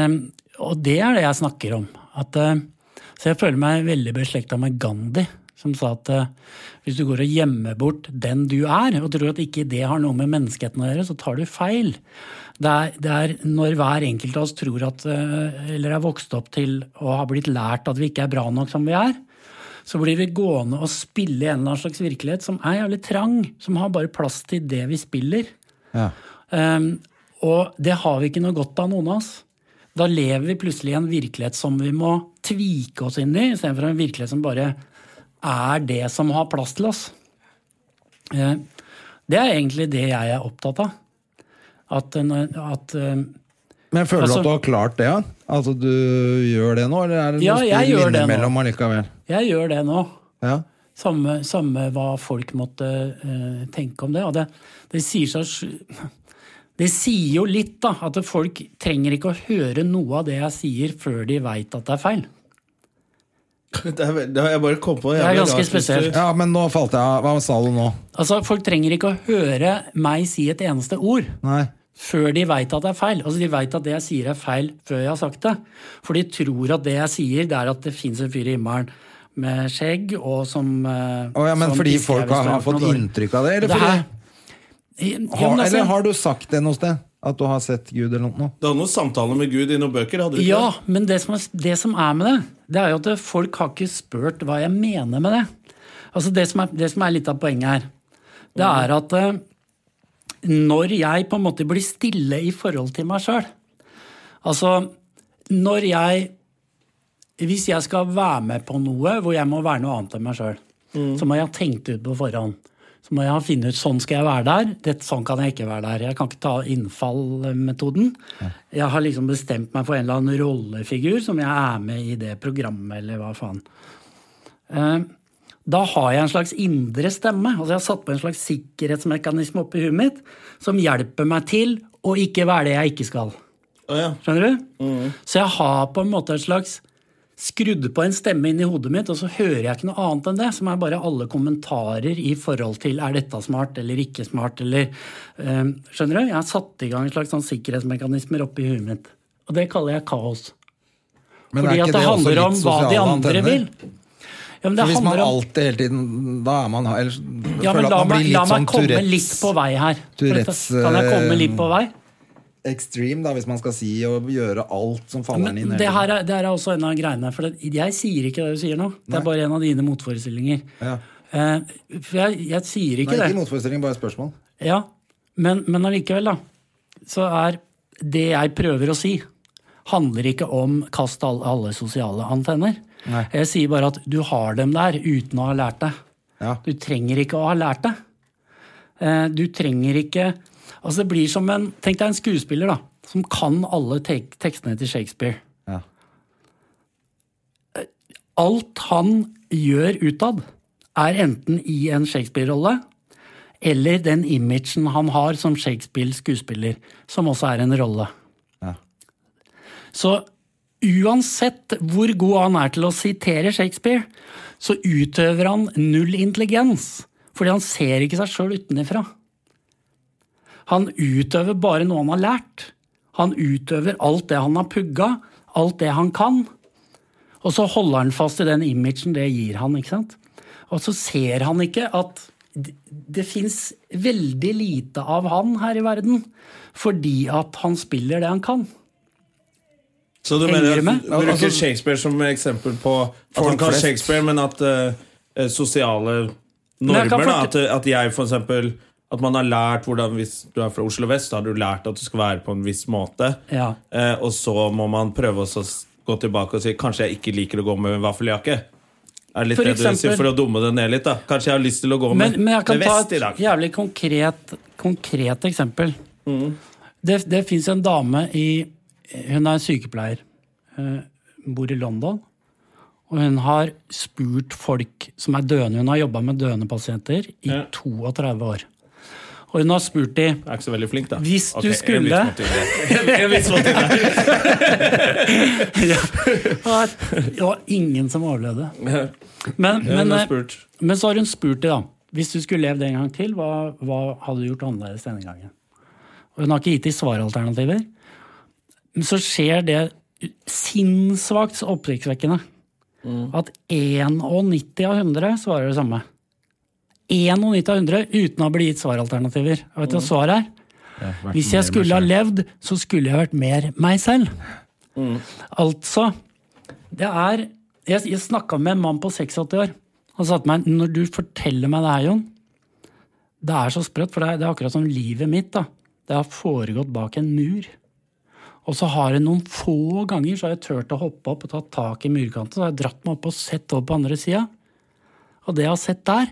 S3: Em, og det er det jeg snakker om. At, eh, så jeg føler meg veldig beslekta med Gandhi, som sa at eh, hvis du går og gjemmer bort den du er, og tror at ikke det har noe med menneskeheten å gjøre, så tar du feil. Det er, det er når hver enkelt av oss tror at, eh, eller er vokst opp til og har blitt lært at vi ikke er bra nok som vi er, så blir vi gående og spille i en eller annen slags virkelighet som er jævlig trang, som har bare plass til det vi spiller.
S1: Ja.
S3: Ehm, og det har vi ikke noe godt av, noen av oss. Da lever vi plutselig i en virkelighet som vi må tvike oss inn i, istedenfor en virkelighet som bare er det som har plass til oss. Eh, Det er egentlig det jeg er opptatt av. At, en- at eh,
S1: Men føler du
S3: Altså-
S1: at du har klart det? Ja? Altså du gjør det nå, eller er det
S3: Ja,
S1: noe
S3: jeg
S1: spill
S3: gjør det nå.
S1: innimellom allikevel?
S3: jeg gjør det nå.
S1: Ja.
S3: Samme, samme hva folk måtte eh, tenke om det. Og det, det sier seg sj- Det sier jo litt, da, at folk trenger ikke å høre noe av det jeg sier, før de veit at det er feil.
S2: Det, er, vel- det har jeg bare kommet på.
S3: Det er
S2: Jævlig
S3: ganske
S2: rart hvis du-
S3: spesielt.
S1: ja, men nå falt jeg av. Hva sa du nå?
S3: Altså, Folk trenger ikke å høre meg si et eneste ord
S1: Nei.
S3: før de veit at det er feil. Altså, De veit at det jeg sier er feil før jeg har sagt det. For de tror at det jeg sier, det er at det fins en fyr i himmelen med skjegg og som, eh,
S1: Å ja, men
S3: som
S1: fordi
S3: pisker
S1: folk
S3: hvis du
S1: har,
S3: er
S1: har
S3: for
S1: fått
S3: noe dårlig.
S1: inntrykk av det? Eller
S3: Det
S1: fordi
S3: her, Ja, men
S1: Har,
S3: altså-
S1: eller har du sagt det noe sted? At du har sett Gud eller noe?
S2: Du hadde noen samtaler med Gud i noen bøker? hadde du ikke
S3: Ja,
S2: det?
S3: men det som, er, det som er med det, det er jo at folk har ikke spurt hva jeg mener med det. Altså Det som er, det som er litt av poenget her, det er at eh, når jeg på en måte blir stille i forhold til meg sjøl Altså, når jeg Hvis jeg skal være med på noe hvor jeg må være noe annet enn meg sjøl, så må jeg ha tenkt ut på forhånd. Så må jeg ha finne ut sånn skal jeg være der, det, sånn kan jeg ikke være der. Jeg kan ikke ta innfallmetoden. Jeg har liksom bestemt meg for en eller annen rollefigur som jeg er med i det programmet, eller hva faen. Eh, Da har jeg en slags indre stemme. altså Jeg har satt på en slags sikkerhetsmekanisme oppi huet mitt som hjelper meg til å ikke være det jeg ikke skal.
S2: Å, ja.
S3: Skjønner du?
S1: Mm.
S3: Så jeg har på en måte et slags skrudd på en stemme inni hodet mitt, og så hører jeg ikke noe annet enn det, som er bare alle kommentarer i forhold til er dette smart eller ikke smart, eller eh, Skjønner du? Jeg har satt i gang en slags sånn sikkerhetsmekanismer oppi huet mitt. Og det kaller jeg kaos.
S1: Men
S3: Fordi at det handler om hva de andre vil. Ja, men det
S1: For hvis man
S3: handler om-
S1: alltid hele tiden Da er man ellers,
S3: ja, men
S1: føler at
S3: la
S1: man
S3: meg,
S1: blir
S3: la
S1: litt
S3: meg
S1: sånn
S3: komme
S1: Tourettes
S3: litt på vei her. For dette-
S1: Tourettes,
S3: Kan jeg komme
S1: eh,
S3: litt på vei?
S1: extreme, da, hvis man skal si og gjøre alt som faller inn
S3: Men
S1: hele
S3: det
S1: tiden.
S3: her, er, det her er også en av greiene. For det, jeg sier ikke det du sier nå. Det
S1: Nei.
S3: er bare en av dine motforestillinger.
S1: Ja.
S3: Eh, for jeg, jeg sier
S1: Nei,
S3: ikke
S1: ikke
S3: det.
S1: motforestilling, bare spørsmål.
S3: Ja, men, men allikevel, da. Så er det jeg prøver å si, handler ikke om kast alle, alle sosiale antenner.
S1: Nei.
S3: Jeg sier bare at du har dem der uten å ha lært det.
S1: Ja.
S3: Du trenger ikke å ha lært det. Eh, Du trenger ikke Altså, det blir som en Tenk deg en skuespiller, da. Som kan alle tek tekstene til Shakespeare. Eh,
S1: Ja.
S3: alt han gjør utad, er enten i en Shakespeare-rolle eller den imagen han har som Shakespeare-skuespiller, som også er en rolle.
S1: Ja.
S3: Så uansett hvor god han er til å sitere Shakespeare, så utøver han null intelligens, fordi han ser ikke seg sjøl utenfra. Han utøver bare noe han har lært. Han utøver alt det han har pugga, alt det han kan. Og så holder han fast i den imagen det gir han, ikke sant? Og så ser han ikke at d- det fins veldig lite av han her i verden, fordi at han spiller det han kan.
S2: Så du
S3: Henger
S2: mener
S3: det med?
S2: at du bruker
S1: Altså-
S2: Shakespeare som eksempel på At han
S1: Folk
S2: kan
S1: flest.
S2: Shakespeare, men at eh, eh, sosiale normer
S3: jeg kan
S2: da, at, eh,
S3: fortell-
S2: at jeg for eksempel At man har lært hvordan Hvis du er fra Oslo vest, så har du lært at du skal være på en viss måte.
S3: Ja.
S2: Eh, og så må man prøve også å s- gå tilbake og si kanskje jeg ikke liker å gå med vaffeljakke. Er det litt
S3: For
S2: det du
S3: eksempel-
S2: sier for å dumme det ned litt, da. Kanskje jeg har lyst til å gå
S3: Men,
S2: med,
S3: men jeg kan
S2: med
S3: ta
S2: vest i
S3: et
S2: dag.
S3: jævlig konkret, konkret eksempel.
S2: Mm.
S3: Det, det fins en dame i Hun er sykepleier. eh, Bor i London. Og hun har spurt folk som er døende. Hun har jobba med døende pasienter i
S2: Ja.
S3: 32 år. Og hun har spurt de
S2: Jeg er ikke så veldig flink, da.
S3: Hvis du
S2: Ok, en viss
S3: skulle-
S2: måte å gjøre det. En viss måte å gjøre det.
S3: Og Det var ingen som overlevde. Men,
S2: Ja,
S3: men,
S2: hun har
S3: eh,
S2: spurt.
S3: men så har hun spurt det, da. Hvis du skulle levd en gang til, hva, hva hadde du gjort annerledes denne gangen? Og hun har ikke gitt de svaralternativer. Men så skjer det sinnssvakt oppsiktsvekkende. At 91 av 100 svarer det samme. 91 av 100 uten å bli gitt svaralternativer. Og vet du hva svaret er? Hvis jeg skulle ha levd, så skulle jeg vært mer meg selv. Altså Det er Jeg, jeg snakka med en mann på 86 år. Han sa til meg når du forteller meg det her, Jon Det er så sprøtt, for det er, det er akkurat som livet mitt. da. Det har foregått bak en mur. Og så har jeg noen få ganger så har jeg turt å hoppe opp og ta tak i murkanten. Så har jeg dratt meg opp og sett over på andre sida. Og det jeg har sett der,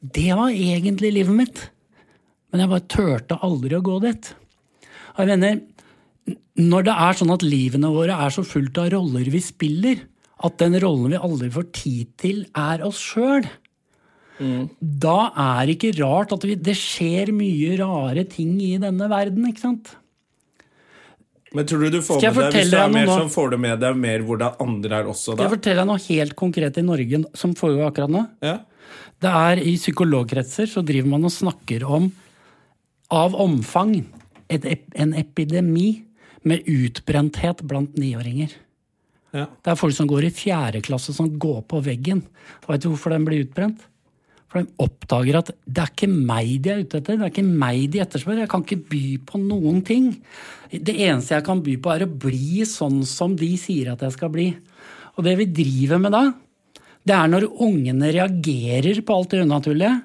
S3: det var egentlig livet mitt. Men jeg bare turte aldri å gå dit. Og jeg mener, når det er sånn at livene våre er så fullt av roller vi spiller, at den rollen vi aldri får tid til, er oss sjøl, da er det ikke rart at vi, det skjer mye rare ting i denne verden, ikke sant?
S2: Men tror du du får
S3: Skal jeg
S2: med deg Hvis
S3: fortelle
S2: du
S3: deg
S2: er
S3: noe
S2: mer
S3: nå?
S2: sånn, får du med deg mer hvordan andre er også da?
S3: Jeg forteller deg noe helt konkret i Norge som foregår akkurat nå.
S2: Ja.
S3: Det er I psykologkretser så driver man og snakker om av omfang et, ep- en epidemi med utbrenthet blant niåringer.
S2: Ja.
S3: Det er folk som går i fjerde klasse som går på veggen. Vet du hvorfor den blir utbrent? For For de oppdager at det er ikke meg de er ute etter. Det er ikke meg de etterspør. Jeg kan ikke by på noen ting. Det eneste jeg kan by på, er å bli sånn som de sier at jeg skal bli. Og det vi driver med da, det er når ungene reagerer på alt det unaturlige,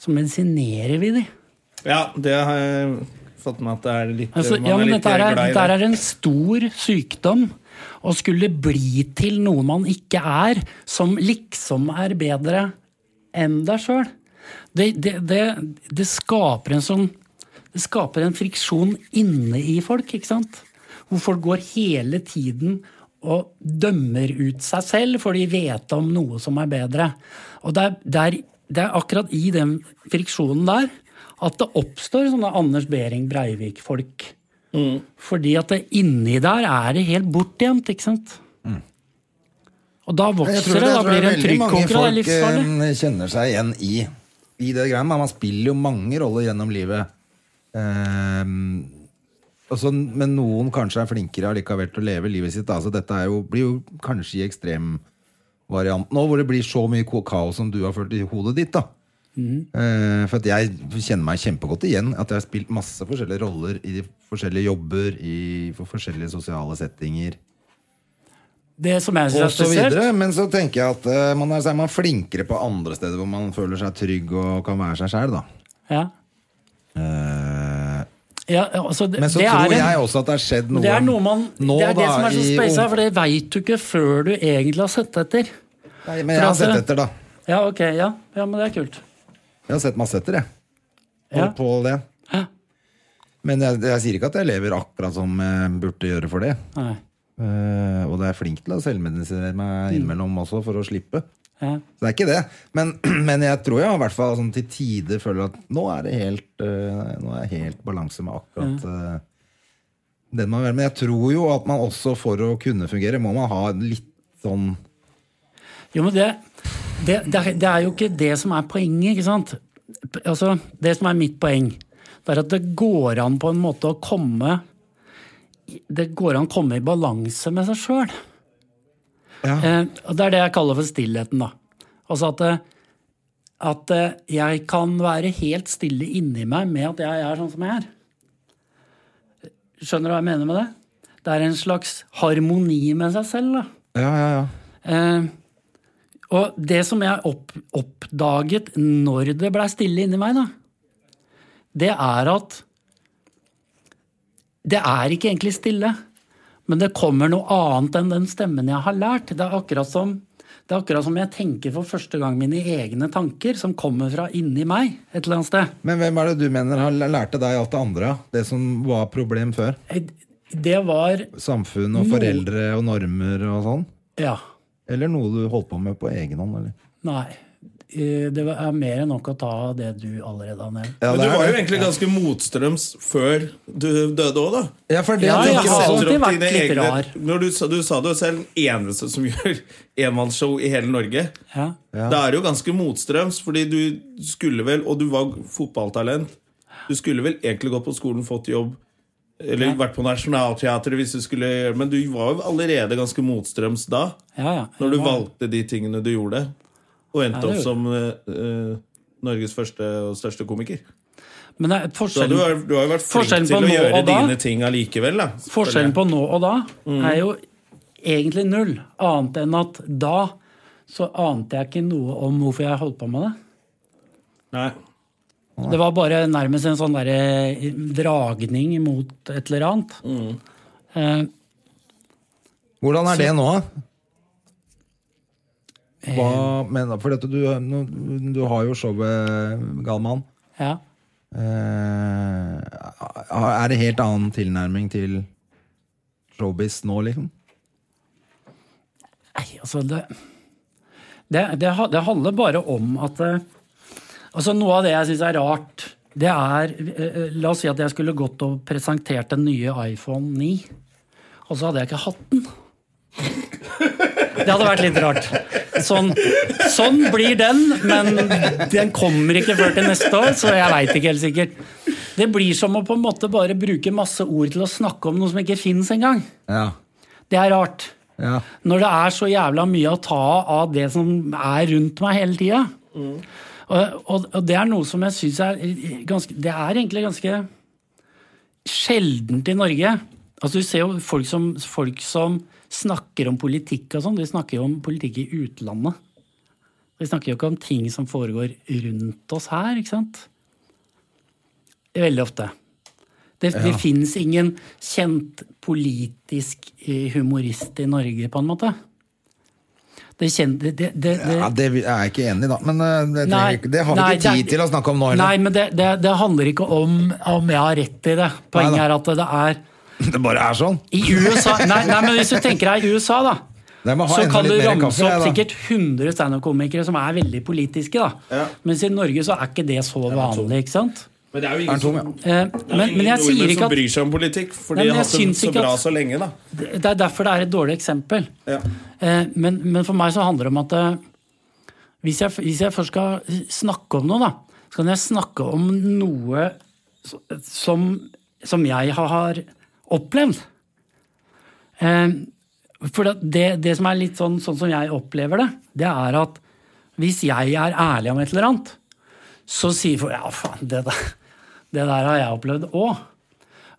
S3: så medisinerer vi de.
S2: Ja, det har jeg fått med at det er litt
S3: Altså,
S2: man
S3: ja, men
S2: er litt
S3: dette, her
S2: glad
S3: er,
S2: i
S3: dette her
S2: det.
S3: er en stor sykdom. Å skulle bli til noe man ikke er, som liksom er bedre enn deg sjøl, det, det, det, det skaper en sånn Det skaper en friksjon inne i folk, ikke sant? Hvor folk går hele tiden og dømmer ut seg selv, for de vet om noe som er bedre. Og det er, det er, det er akkurat i den friksjonen der at det oppstår sånne Anders Behring Breivik-folk.
S1: Mm.
S3: Fordi at det, inni der er det helt bortgjemt, ikke sant? Og da
S1: Mm. Jeg
S3: vokser
S1: tror
S3: det,
S1: jeg
S3: da
S1: tror
S3: blir det en
S1: veldig mange
S3: trykkoker, og det er
S1: folk
S3: livsfarlig.
S1: eh, kjenner seg igjen i, i det greiene. Men man spiller jo mange roller gjennom livet. Ehm, altså, men noen kanskje er flinkere allikevel til å leve livet sitt. da. Så dette er jo, blir jo kanskje i ekstremvarianten nå, hvor det blir så mye ko- kaos som du har følt i hodet ditt. da.
S3: Mhm.
S1: Eh, for at jeg kjenner meg kjempegodt igjen. At jeg har spilt masse forskjellige roller i de forskjellige jobber, i for forskjellige sosiale settinger
S3: Det som jeg
S1: og
S3: synes
S1: så
S3: er spesielt,
S1: videre. Men så tenker jeg at eh, man er, så er man flinkere på andre steder hvor man føler seg trygg og kan være seg sjæl, da.
S3: ja.
S1: Eh,
S3: Ja, altså, det,
S1: men så
S3: det
S1: tror
S3: er en,
S1: jeg også at det har skjedd noe,
S3: Det er noe man
S1: nå,
S3: Det er det
S1: da,
S3: som er så
S1: i
S3: spesielt,
S1: ung-
S3: for det veit du ikke før du egentlig har sett etter.
S1: Nei, men jeg har
S3: for
S1: sett
S3: at-
S1: etter, da.
S3: Ja, ok, ja, ja men det er kult.
S1: Jeg har sett masse etter, jeg.
S3: Ja.
S1: På det.
S3: Ja.
S1: Men jeg, jeg sier ikke at jeg lever akkurat som jeg burde gjøre for det.
S3: Nei.
S1: Eh, og det er jeg flink til å selvmedisinere
S3: Mm.
S1: meg innimellom også, for å slippe.
S3: Ja.
S1: Så det er ikke det. Men, men jeg tror jeg i hvert fall sånn, til tider føler at nå er det helt, øh, nå er jeg helt balanse med akkurat øh, den man vil. Men jeg tror jo at man også for å kunne fungere, må man ha litt sånn
S3: Jo, men det, det, det, er, det er jo ikke det som er poenget, ikke sant? P- Altså, det som er mitt poeng, det er at det går an på en måte å komme i- Det går an å komme i balanse med seg sjøl.
S1: Ja.
S3: Eh, og det er det jeg kaller for stillheten, da. Altså at, eh, at eh, jeg kan være helt stille inni meg med at jeg er sånn som jeg er. Skjønner du hva jeg mener med det? Det er en slags harmoni med seg selv, da.
S1: Ja, ja, ja.
S3: Eh, og det som jeg opp, oppdaget når det blei stille inni meg, da, det er at det er ikke egentlig stille, men det kommer noe annet enn den stemmen jeg har lært. Det er akkurat som, det er akkurat som jeg tenker for første gang mine egne tanker, som kommer fra inni meg et eller annet sted.
S1: Men hvem er det du mener har lærte deg alt det andre? ja? Det som var problem før?
S3: Eh, Det var
S1: Samfunn og
S3: Noe.
S1: foreldre og normer og sånn?
S3: Ja.
S1: Eller noe du holdt på med på egen hånd? Eller?
S3: Nei. Eh, Det er mer enn nok å ta av det du allerede har nevnt.
S1: Ja,
S2: Men
S1: det
S2: du
S1: er
S2: var jo
S1: det.
S2: egentlig ganske motstrøms før du døde òg, da.
S1: Ja, for det sånn-
S3: Ja,
S1: jeg
S3: jeg
S1: tenker
S3: har
S1: også.
S3: alltid
S2: Setter opp
S3: vært
S2: dine
S3: litt
S2: egne-
S3: rar.
S2: Når du, sa- du sa det jo selv, den eneste som gjør enmannsshow i hele Norge.
S3: Ja.
S2: Da er det jo ganske motstrøms, fordi du skulle vel, og du var fotballtalent, du skulle vel egentlig gått på skolen, fått jobb, eller vært på Nationaltheatret hvis du skulle gjøre men du var jo allerede ganske motstrøms da,
S3: Ja, ja.
S2: når du
S3: Jeg var-
S2: valgte de tingene du gjorde, og endte
S3: Ja, det
S2: opp
S3: gjorde
S2: som eh, eh, Norges første og største komiker.
S3: Men det er
S2: Så du
S3: forskjellen
S2: har, du har jo vært flink
S3: Forskjellen på
S2: til å
S3: nå
S2: gjøre
S3: og da-
S2: dine ting allikevel, da.
S3: Forskjellen på nå og da
S2: Mm.
S3: er jo egentlig null. Annet enn at da så ante jeg ikke noe om hvorfor jeg holdt på med det.
S2: Nei.
S3: Det var bare nærmest en sånn derre dragning mot et eller annet.
S2: Mm.
S3: Eh,
S1: Hvordan er det nå? da? Hva, men, for dette, du, nå- du har jo showet Galman.
S3: ja.
S1: Eh, er det helt annen tilnærming til showbiz nå, liksom?
S3: Nei, altså det det, det, ha- det handler bare om at eh, Altså Noe av det jeg syns er rart, det er eh, eh, La oss si at jeg skulle gått og presentert den nye iPhone 9, og så hadde jeg ikke hatt den. Det hadde vært litt rart. Sånn, sånn blir den, men den kommer ikke før til neste år, så jeg veit ikke helt sikkert. Det blir som å på en måte bare bruke masse ord til å snakke om noe som ikke fins engang.
S1: Ja.
S3: Det er rart
S1: ja.
S3: når det er så jævla mye å ta av det som er rundt meg hele tida, Og, og, og det er noe som jeg syns er ganske Det er egentlig ganske sjeldent i Norge. Altså Du ser jo folk som, folk som snakker om politikk og sånn. De snakker jo om politikk i utlandet. De snakker jo ikke om ting som foregår rundt oss her, ikke sant? Veldig ofte. Det, det fins ingen kjent politisk eh, humorist i Norge, på en måte. Det kjente det, det, det,
S1: Ja, det vil- er jeg ikke enig i, da. Men eh, det, trenger,
S3: Nei,
S1: ikke- det har vi
S3: nei,
S1: ikke tid
S3: det-
S1: til å snakke om nå heller.
S3: Nei, men det, det, det handler ikke om om jeg har rett i det. Poenget
S1: Neida.
S3: er at det er
S1: Det bare er sånn.
S3: I USA Nei, nei men hvis du tenker deg i USA, da.
S1: Jeg må ha
S3: Så
S1: enda
S3: kan du
S1: litt mer
S3: ramse
S1: kaffe, jeg,
S3: opp
S1: da.
S3: sikkert 100 standup-komikere som er veldig politiske. da. Mens i Norge så er ikke det så vanlig. ikke sant?
S2: Men det er jo
S1: Er den
S2: ingen,
S1: tom,
S2: som,
S1: ja?
S3: Eh, Men, men jeg sier
S2: nordmenn
S3: ikke
S2: som
S3: at
S2: bryr seg om politikk, for
S3: Nei,
S2: de
S3: men
S2: har
S3: jeg
S2: hatt det
S3: syns
S2: så
S3: ikke
S2: bra
S3: at-
S2: så lenge, da.
S3: Det er derfor det er et dårlig eksempel.
S2: Ja.
S3: Eh, Men, men for meg så handler det om at eh, hvis jeg, hvis jeg først skal snakke om noe, da, så kan jeg snakke om noe s- som, som jeg har opplevd. Eh, For det- det, det som er litt sånn, sånn som jeg opplever det, det er at hvis jeg er ærlig om et eller annet, så sier folk ja, faen, det der, det der har jeg opplevd òg.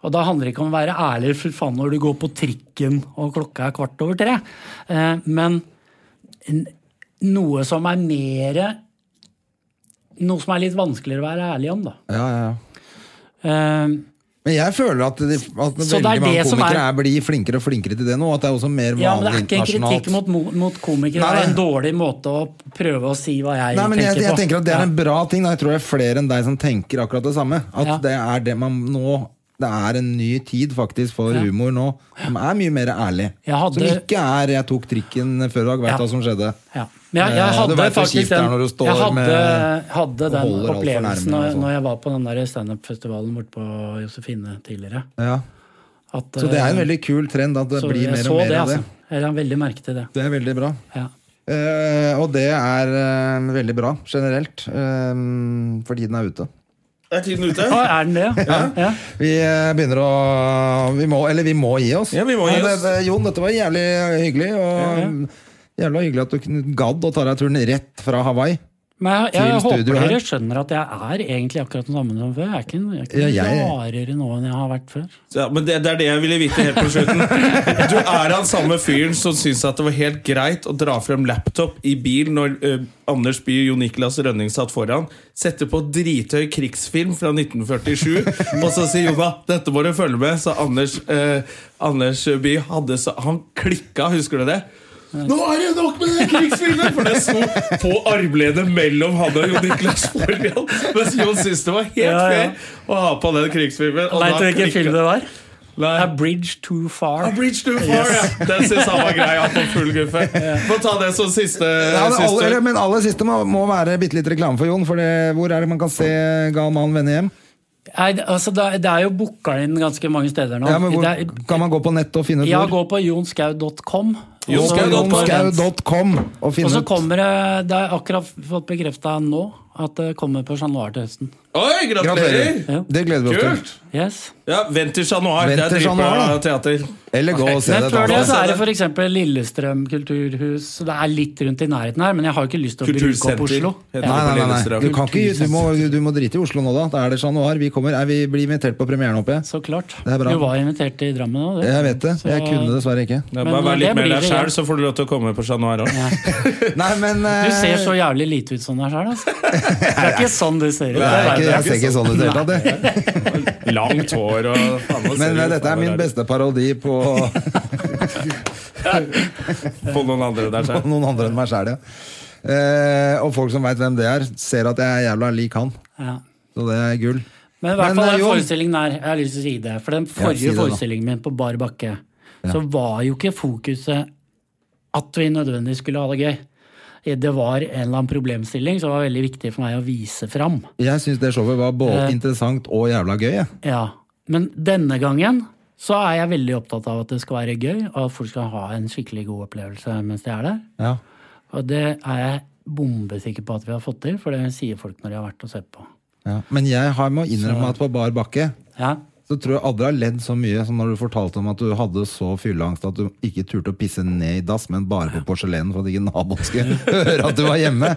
S3: Og da handler det ikke om å være ærlig for faen når du går på trikken og klokka er kvart over tre. Eh, Men n- noe som er mere Noe som er litt vanskeligere å være ærlig om, da.
S1: Ja, ja, ja.
S3: Eh,
S1: Men jeg føler at, de, at
S3: Så det er
S1: veldig mange
S3: det som
S1: komikere
S3: er-
S1: er... blir flinkere og flinkere til det nå. At det er også mer
S3: Ja, men Det
S1: vanlig
S3: er ikke en kritikk
S1: internasjonalt.
S3: mot, mo- mot komikere.
S1: Nei,
S3: Det er en
S1: nei.
S3: dårlig måte å prøve å si hva jeg
S1: Nei, men jeg,
S3: tenker
S1: jeg
S3: på.
S1: tenker at Det er
S3: Ja.
S1: en bra ting. Da. Jeg tror det er flere enn deg som tenker akkurat det samme. At
S3: Ja.
S1: det er det man nå Det er en ny tid faktisk for
S3: Ja.
S1: humor nå, som er mye mer ærlig.
S3: Jeg hadde-
S1: Som ikke er 'jeg tok trikken før i dag', veit
S3: Ja.
S1: hva som skjedde.
S3: Ja. Men jeg,
S1: Eh,
S3: jeg
S1: du
S3: hadde
S1: vet hvor kjipt
S3: faktisk
S1: det er
S3: den,
S1: når du står
S3: jeg hadde,
S1: med-
S3: hadde
S1: og
S3: den
S1: holder alt for nærme
S3: opplevelsen når,
S1: og sånn.
S3: når jeg var på den der standup-festivalen borte på Josefine tidligere.
S1: Ja.
S3: At,
S1: Så det er en
S3: eh,
S1: veldig kul trend at det
S3: så
S1: blir
S3: jeg
S1: mer
S3: så
S1: og mer
S3: det,
S1: av det.
S3: Altså. Jeg la veldig merke til det.
S1: Det er veldig bra.
S3: Ja.
S1: Eh, og det er eh, veldig bra generelt, eh, for tiden er ute.
S2: Er tiden ute?
S3: Å, er den det, ja? ja.
S1: Vi eh, begynner å vi må, Eller vi må gi oss.
S2: Ja, vi må gi
S1: Men
S2: oss.
S1: Det, det, Jon, dette var jævlig hyggelig. Og
S3: ja.
S1: Jævla hyggelig at du kunne- gadd å ta deg turen rett fra Hawaii.
S3: Men jeg, jeg,
S1: Til
S3: håper
S1: studio her.
S3: dere skjønner at jeg er egentlig akkurat den samme som før. Jeg er ikke, jeg er ikke
S1: Ja, jeg-
S3: rarere nå enn jeg har vært før.
S2: Så, ja, men det, det er det jeg ville vite helt på slutten. Du Er han samme fyren som syns at det var helt greit å dra frem laptop i bil når eh, Anders Bye og Jo Niklas Rønning satt foran, sette på drithøy krigsfilm fra 1947, og så sier Jona 'dette må du følge med', så Anders, eh, Anders Bye hadde så Han klikka, husker du det? Nå er det nok med den krigsfilmen! For det sto på armlenet mellom han og Jon Niklas foran. Mens Jon syntes det var helt
S3: Ja, ja.
S2: fair å ha på den krigsfilmen. og
S3: Veit
S2: da
S3: du hvilken
S2: klikket-
S3: film det var?
S2: Nei.
S3: A Bridge Too Far.
S2: A Bridge Too Far, ja. Den syns han var grei. Han får full guffe. Få ta det som siste.
S1: Ja, det
S2: siste.
S1: aller, eller, men aller siste må, må være bitte litt reklame for Jon. For det, hvor er det man kan se Gal mann vende hjem?
S3: Nei, det- altså, det er- det er jo booka inn ganske mange steder nå.
S1: Ja, men hvor,
S3: Det er-
S1: kan man gå på nettet og finne ut
S3: Ja,
S1: hvor?
S3: gå på jonskau.com. og
S1: Gå
S3: så-
S1: på
S2: Jonskau.com.
S1: jonskau.com og
S3: Og
S1: finne
S3: så
S1: ut
S3: kommer det Det er akkurat fått bekrefta nå at det kommer på Chat Noir til høsten.
S2: Oi, gratulerer!
S3: Ja.
S1: Gratulerer. Det gleder vi oss til.
S2: Kult!
S3: Yes.
S2: Ja, Vent til januar.
S1: Vent
S2: Det er
S1: til januar,
S2: dritbra
S1: da.
S2: teater.
S1: Eller gå og se
S3: Men
S1: det.
S3: før det
S1: da.
S3: så er det f.eks. Lillestrøm kulturhus. Så det er litt rundt i nærheten her, men jeg har jo ikke lyst til å bruke opp
S2: Kultursenter.
S3: Oslo.
S2: heter det
S1: Nei, nei,
S2: på
S1: nei, nei.
S2: Lillestrøm.
S1: Du, kan ikke, du, må, du må drite i Oslo nå, da. Da er det Chat Noir. Vi, kommer. Nei, vi blir invitert på premieren, håper jeg.
S3: Så klart.
S1: Det er bra.
S3: Du var invitert til Drammen òg,
S1: Jeg vet det. Jeg
S3: Så-
S1: kunne dessverre ikke.
S2: Ja,
S3: Men
S2: bare vær litt
S3: det
S2: mer
S3: blir
S2: deg
S3: det, ja.
S2: sjæl, så får du lov til å komme på januar òg.
S1: Nei, men
S3: Du ser
S1: eh,
S3: så jævlig lite ut som deg sjøl, altså. Det er ikke sånn du ser ut.
S1: Nei, jeg, er ikke, jeg ser ikke sånn ut i det hele tatt. jeg.
S2: Langt hår og faen, nå ser
S1: Men eh,
S2: du faen
S1: dette er min
S2: meg
S1: beste parodi på
S2: På noen andre der sjæl.
S1: noen andre enn meg sjæl, ja. Eh, og folk som veit hvem det er, ser at jeg er jævla lik han.
S3: Ja.
S1: Så det er gull.
S3: Men i hvert
S1: Men, eh,
S3: fall den
S1: Jon-
S3: forestillingen her, jeg har lyst til å si det. For den
S1: si
S3: forrige
S1: det da.
S3: forestillingen min på bar bakke, så var jo ikke fokuset at vi nødvendigvis skulle ha det gøy. Det var en eller annen problemstilling som var veldig viktig for meg å vise fram.
S1: Jeg syns det showet var både
S3: Eh.
S1: interessant og jævla gøy. Jeg.
S3: Ja. Men denne gangen så er jeg veldig opptatt av at det skal være gøy, og at folk skal ha en skikkelig god opplevelse mens de er der.
S1: Ja.
S3: Og det er jeg bombesikker på at vi har fått til, for det sier folk når de har vært og sett på.
S1: Ja. Men jeg har må innrømme at på bar bakke
S3: Ja.
S1: så tror jeg aldri jeg har ledd så mye som når du fortalte om at du hadde så fylleangst at du ikke turte å pisse ned i dass, men bare på porselenet for at ikke naboen skulle høre at du var hjemme.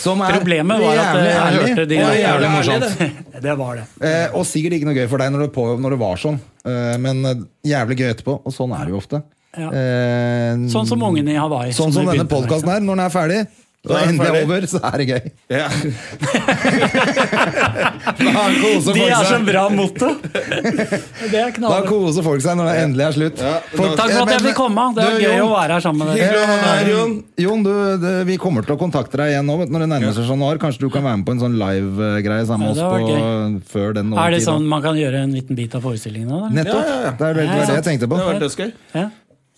S1: Som er
S3: Problemet var at eh,
S1: jævlig
S3: jeg
S1: ærlig.
S3: hørte de
S1: Og
S3: var
S1: jævlig
S3: jævlig
S1: morsomt.
S3: morsomt. Det var det.
S1: Eh, og sikkert ikke noe gøy for deg når det, på, når det var sånn, eh, men eh, jævlig gøy etterpå. Og sånn er det jo ofte.
S3: Ja.
S1: Eh,
S3: Sånn som ungene i Hawaii.
S1: sånn som
S3: vi
S1: denne
S3: begynte med. liksom.
S1: podkasten her. Når den er ferdig, så
S2: Da er
S1: er
S2: den
S1: endelig
S2: ferdig.
S1: over, så er det gøy.
S2: Ja.
S1: Da koser
S3: De
S1: folk
S3: er
S1: seg.
S3: så bra motto! Det er
S1: Da
S3: knallbra.
S1: koser folk seg når det endelig er slutt.
S2: Ja,
S1: Folk-
S3: Takk for
S1: Eh,
S3: at jeg
S1: men-
S3: fikk komme. Det
S1: Du,
S3: er gøy
S1: Jon,
S3: å være her sammen med dere.
S2: Hyggelig å ha deg her, Jon.
S1: Jon, du, du, vi kommer til å kontakte deg igjen nå vet du, når det nærmer seg januar. Kanskje du kan være med på en sånn live-greie sammen med
S3: Ja, det
S1: oss
S3: hadde
S1: på,
S3: vært
S1: før den
S3: Er det
S1: overtiden.
S3: sånn man kan gjøre en liten bit av forestillingen av det?
S1: Nettopp! Det er det, det, er det jeg tenkte på.
S2: Det har vært dødsgøy.
S3: Ja.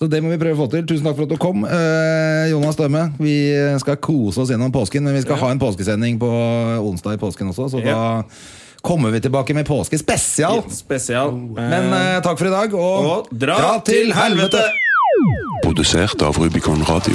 S1: Så det må vi prøve å få til. Tusen takk for at du kom, eh, Jonas Dømme. Vi skal kose oss gjennom påsken, men vi skal ha en påskesending på onsdag i påsken også, så
S2: Ja.
S1: da kommer vi tilbake med påskespesial.
S2: Spesial.
S1: Men eh, takk for i dag, og,
S2: Og dra til helvete!
S4: Produsert av Rubicon Radio.